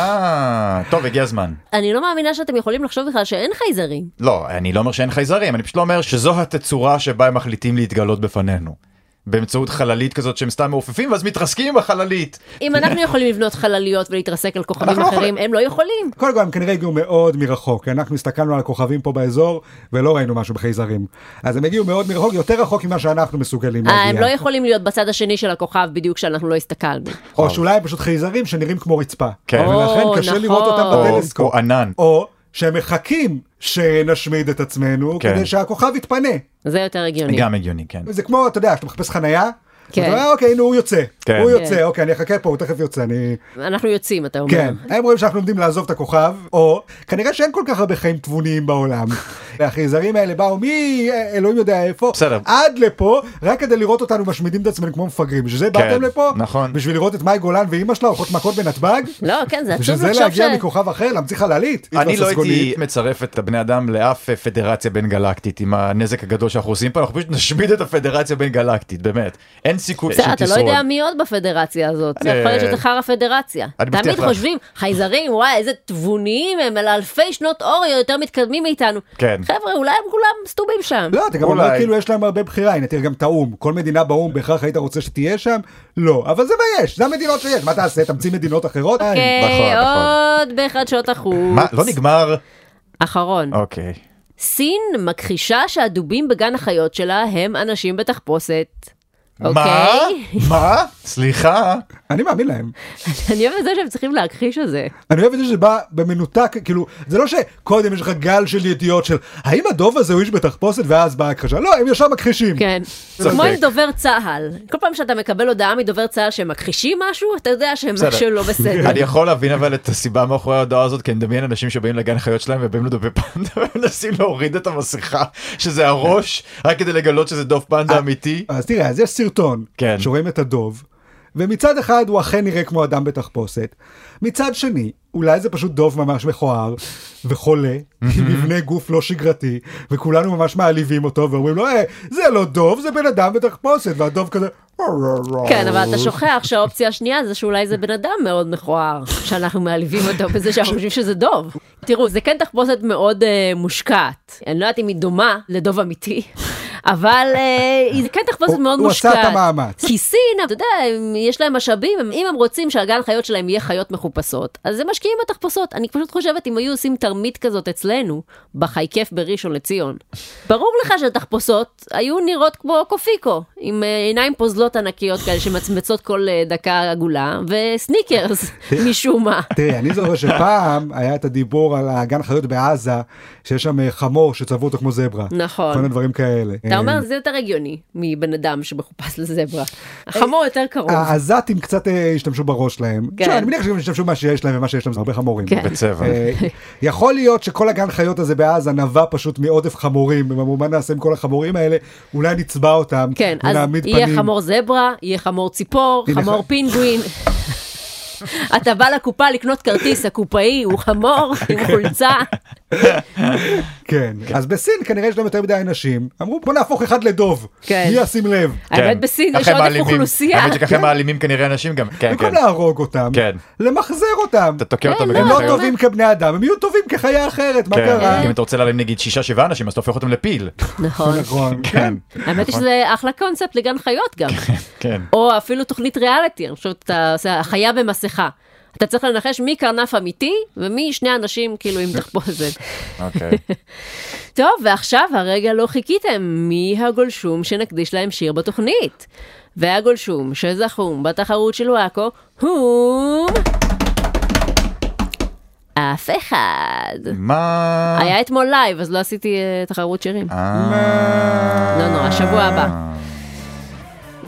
S3: אה, טוב, הגיע הזמן.
S2: אני לא מאמינה שאתם יכולים לחשוב בכלל שאין חייזרים.
S3: לא, אני לא אומר שאין חייזרים, אני פשוט לא אומר שזו התצורה שבה הם מחליטים להתגלות בפנינו. באמצעות חללית כזאת שהם סתם מעופפים ואז מתרסקים עם החללית.
S2: אם אנחנו יכולים לבנות חלליות ולהתרסק על כוכבים
S3: אנחנו לא
S2: אחרים, הם לא יכולים.
S1: קודם כל הם כנראה הגיעו מאוד מרחוק, כי אנחנו הסתכלנו על הכוכבים פה באזור ולא ראינו משהו בחייזרים. אז הם הגיעו מאוד מרחוק, יותר רחוק ממה שאנחנו מסוגלים
S2: אה, הם לא
S1: להגיע.
S2: יכולים להיות בצד השני של הכוכב בדיוק כשאנחנו לא הסתכלנו.
S1: או שאולי הם פשוט חייזרים שנראים כמו רצפה.
S3: כן.
S1: ולכן
S2: או,
S1: קשה
S2: נכון.
S1: לראות אותם
S3: או-
S1: בטלסקופ.
S3: או ענן.
S1: או שהם מחכים שנשמיד את עצמנו
S3: כן.
S1: כדי שהכוכב יתפנה.
S2: זה יותר הגיוני.
S3: גם הגיוני, כן.
S1: זה כמו, אתה יודע, כשאתה מחפש חנייה.
S2: כן.
S1: אתה אומר, אוקיי, הנה הוא יוצא.
S3: כן.
S1: הוא
S3: כן.
S1: יוצא, אוקיי, אני אחכה פה, הוא תכף יוצא, אני...
S2: אנחנו יוצאים, אתה אומר.
S1: כן, הם רואים שאנחנו עומדים לעזוב את הכוכב, או כנראה שאין כל כך הרבה חיים תבוניים
S3: [LAUGHS]
S1: בעולם. החייזרים האלה באו מי, אלוהים יודע איפה,
S3: בסדר.
S1: עד לפה, רק כדי לראות אותנו משמידים את עצמנו כמו מפגרים. בשביל זה באתם לפה?
S3: נכון.
S1: בשביל לראות את מאי גולן ואימא שלה הולכות מכות בנתב"ג?
S2: [LAUGHS] לא, כן, זה
S1: בשביל זה
S2: עצוב לחשוב ש...
S1: להגיע מכוכב אחר, להמציא חללית?
S3: אני לא
S1: התבסס
S3: הייתי
S1: גונית.
S3: מצרף את הבני אדם לאף אה, פדרציה בין גלקטית עם הנזק הגדול שאנחנו עושים פה, אנחנו פשוט נשמיד את הפדרציה בין גלקטית, באמת. אין סיכוי
S2: בסדר, אתה לא
S3: שתשרוד.
S2: יודע מי עוד בפדרציה הזאת, זה
S3: כן, אה,
S2: יכול להיות שאתה חרא פדרציה.
S3: אני מבטיח
S2: תמיד
S3: לך.
S2: חושבים, חייזרים, וואי, איזה תבוניים הם, אלא אלפי שנות אור יותר מתקדמים מאיתנו.
S3: כן.
S2: חבר'ה, אולי הם כולם סתומים שם.
S1: לא, אתה גם אומר
S3: אולי.
S1: כאילו יש להם הרבה בחירה, הנה תראה גם את האו"ם, כל מדינה באו"ם בהכרח היית רוצה שתהיה שם? לא, אבל זה מה יש, זה המדינות שיש, מה תעשה, תמציא מדינות אחרות?
S2: אוקיי,
S3: נכון,
S2: עוד בחדשות החוץ.
S3: מה, לא נגמר?
S2: אחרון.
S3: אוקיי.
S2: סין מכחישה שהדובים בגן החיות שלה הם אנשים בתחפושת.
S3: מה?
S2: אוקיי? [LAUGHS]
S3: מה? סליחה.
S1: אני מאמין להם.
S2: אני אוהבת את זה שהם צריכים להכחיש את זה.
S1: אני אוהב את זה שזה בא במנותק, כאילו, זה לא שקודם יש לך גל של ידיעות של האם הדוב הזה הוא איש בתחפושת ואז באה הכחשה, לא, הם ישר מכחישים.
S2: כן.
S3: צודק.
S2: כמו עם דובר צה"ל. כל פעם שאתה מקבל הודעה מדובר צה"ל שהם מכחישים משהו, אתה יודע שהם
S3: בסדר.
S2: משהו לא בסדר.
S3: אני יכול להבין אבל את הסיבה מאחורי ההודעה הזאת, כי אני מדמיין אנשים שבאים לגן החיות שלהם ובאים לדובי פנדה [LAUGHS] ומנסים להוריד את המסכה, שזה הראש, רק כדי לגלות שזה דוב
S2: אה,
S3: פנדה אמיתי.
S1: אז תראה, אז יש סרטון,
S3: כן.
S1: שרואים את הדוב, ומצד אחד הוא אכן נראה כמו אדם בתחפושת, מצד שני, אולי זה פשוט דוב ממש מכוער, וחולה, עם מבנה גוף לא שגרתי, וכולנו ממש מעליבים אותו ואומרים לו, אה, זה לא דוב, זה בן אדם בתחפושת, והדוב כזה...
S2: כן, אבל אתה שוכח שהאופציה השנייה זה שאולי זה בן אדם מאוד מכוער, שאנחנו מעליבים אותו בזה שאנחנו חושבים שזה דוב. תראו, זה כן תחפושת מאוד אה, מושקעת. אני לא יודעת אם היא דומה לדוב אמיתי. אבל אה, היא כן תחפושת
S1: הוא-
S2: מאוד
S1: הוא עשה
S2: מושקעת.
S1: את המאמץ.
S2: כי סין, אתה יודע, הם- יש להם משאבים, הם- אם הם רוצים שהגן חיות שלהם יהיה חיות מחופשות, אז הם משקיעים בתחפושות. אני פשוט חושבת, אם היו עושים תרמית כזאת אצלנו, בחי כיף בראשון לציון, ברור לך שהתחפושות היו נראות כמו קופיקו, עם אה, עיניים פוזלות ענקיות כאלה שמצמצות כל אה, דקה עגולה, וסניקרס, משום מה.
S1: תראי, אני זוכר שפעם היה את הדיבור על הגן חיות בעזה, שיש שם אה, חמור שצבעו אותו כמו זברה.
S2: נכון.
S1: כל מיני דברים כאלה.
S2: אתה אומר,
S1: אה,
S2: זה יותר הגיוני מבן אדם שמחופש לזברה. החמור יותר קרוב.
S1: העזתים קצת אה, השתמשו בראש שלהם.
S2: כן.
S1: כן. אני מניח שגם השתמשו במה שיש להם, ומה שיש להם זה הרבה חמורים.
S2: כן.
S3: בצבע.
S1: אה, יכול להיות שכל הגן חיות הזה בעזה נבע פשוט מעודף חמורים, הם אמרו מה נעשה עם כל החמורים האלה, אולי נצבע אותם,
S2: כן, אז
S1: ונעמיד
S2: יהיה
S1: פנים.
S2: חמור זברה, יהיה חמור ציפור,
S1: הנה,
S2: חמור
S1: ח-
S2: פינגווין. אתה בא לקופה לקנות כרטיס, הקופאי הוא חמור עם חולצה.
S1: כן. אז בסין כנראה יש להם יותר מדי אנשים, אמרו בוא נהפוך אחד לדוב,
S2: כן.
S1: מי ישים לב.
S2: האמת בסין יש עודף אוכלוסייה. כן.
S3: האמת שככה הם מעלימים כנראה אנשים גם. כן,
S1: במקום
S3: כן.
S1: להרוג אותם,
S3: כן.
S1: למחזר אותם.
S3: אתה תוקע אותם
S2: כן,
S3: בגן
S1: הם לא
S2: אתה
S3: החיות.
S1: טובים כבני אדם, הם יהיו טובים כחיה אחרת, מה קרה?
S3: כן. אם אתה רוצה להעלים נגיד שישה שבעה אנשים אז אתה הופך אותם
S1: [LAUGHS]
S3: לפיל.
S2: נכון.
S1: נכון, כן.
S2: האמת היא שזה אחלה קונספט לגן חיות גם.
S3: כן.
S2: או אפילו תוכנית ריאליטי, אני חושבת, אתה עושה החיה במסכה. אתה צריך לנחש מי קרנף אמיתי ומי שני אנשים כאילו עם תחפושת.
S3: אוקיי.
S2: טוב, ועכשיו הרגע לא חיכיתם, מי הגולשום שנקדיש להם שיר בתוכנית? והגולשום שזכום בתחרות של וואקו הוא... אף אחד.
S3: מה?
S2: [LAUGHS] היה אתמול לייב, אז לא עשיתי אה, תחרות שירים.
S3: אה,
S2: לא נורא, שבוע הבא.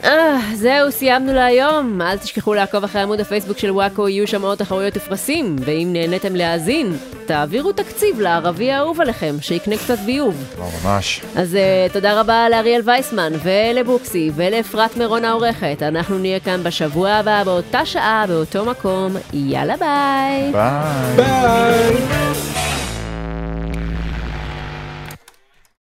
S2: אה, זהו, סיימנו להיום. אל תשכחו לעקוב אחרי עמוד הפייסבוק של וואקו, יהיו שם עוד תחרויות ופרסים. ואם נהניתם להאזין, תעבירו תקציב לערבי האהוב עליכם, שיקנה קצת ביוב.
S3: לא, ממש.
S2: אז uh, תודה רבה לאריאל וייסמן, ולבוקסי, ולאפרת מירון העורכת. אנחנו נהיה כאן בשבוע הבא, באותה שעה, באותו מקום. יאללה ביי.
S3: ביי.
S1: ביי!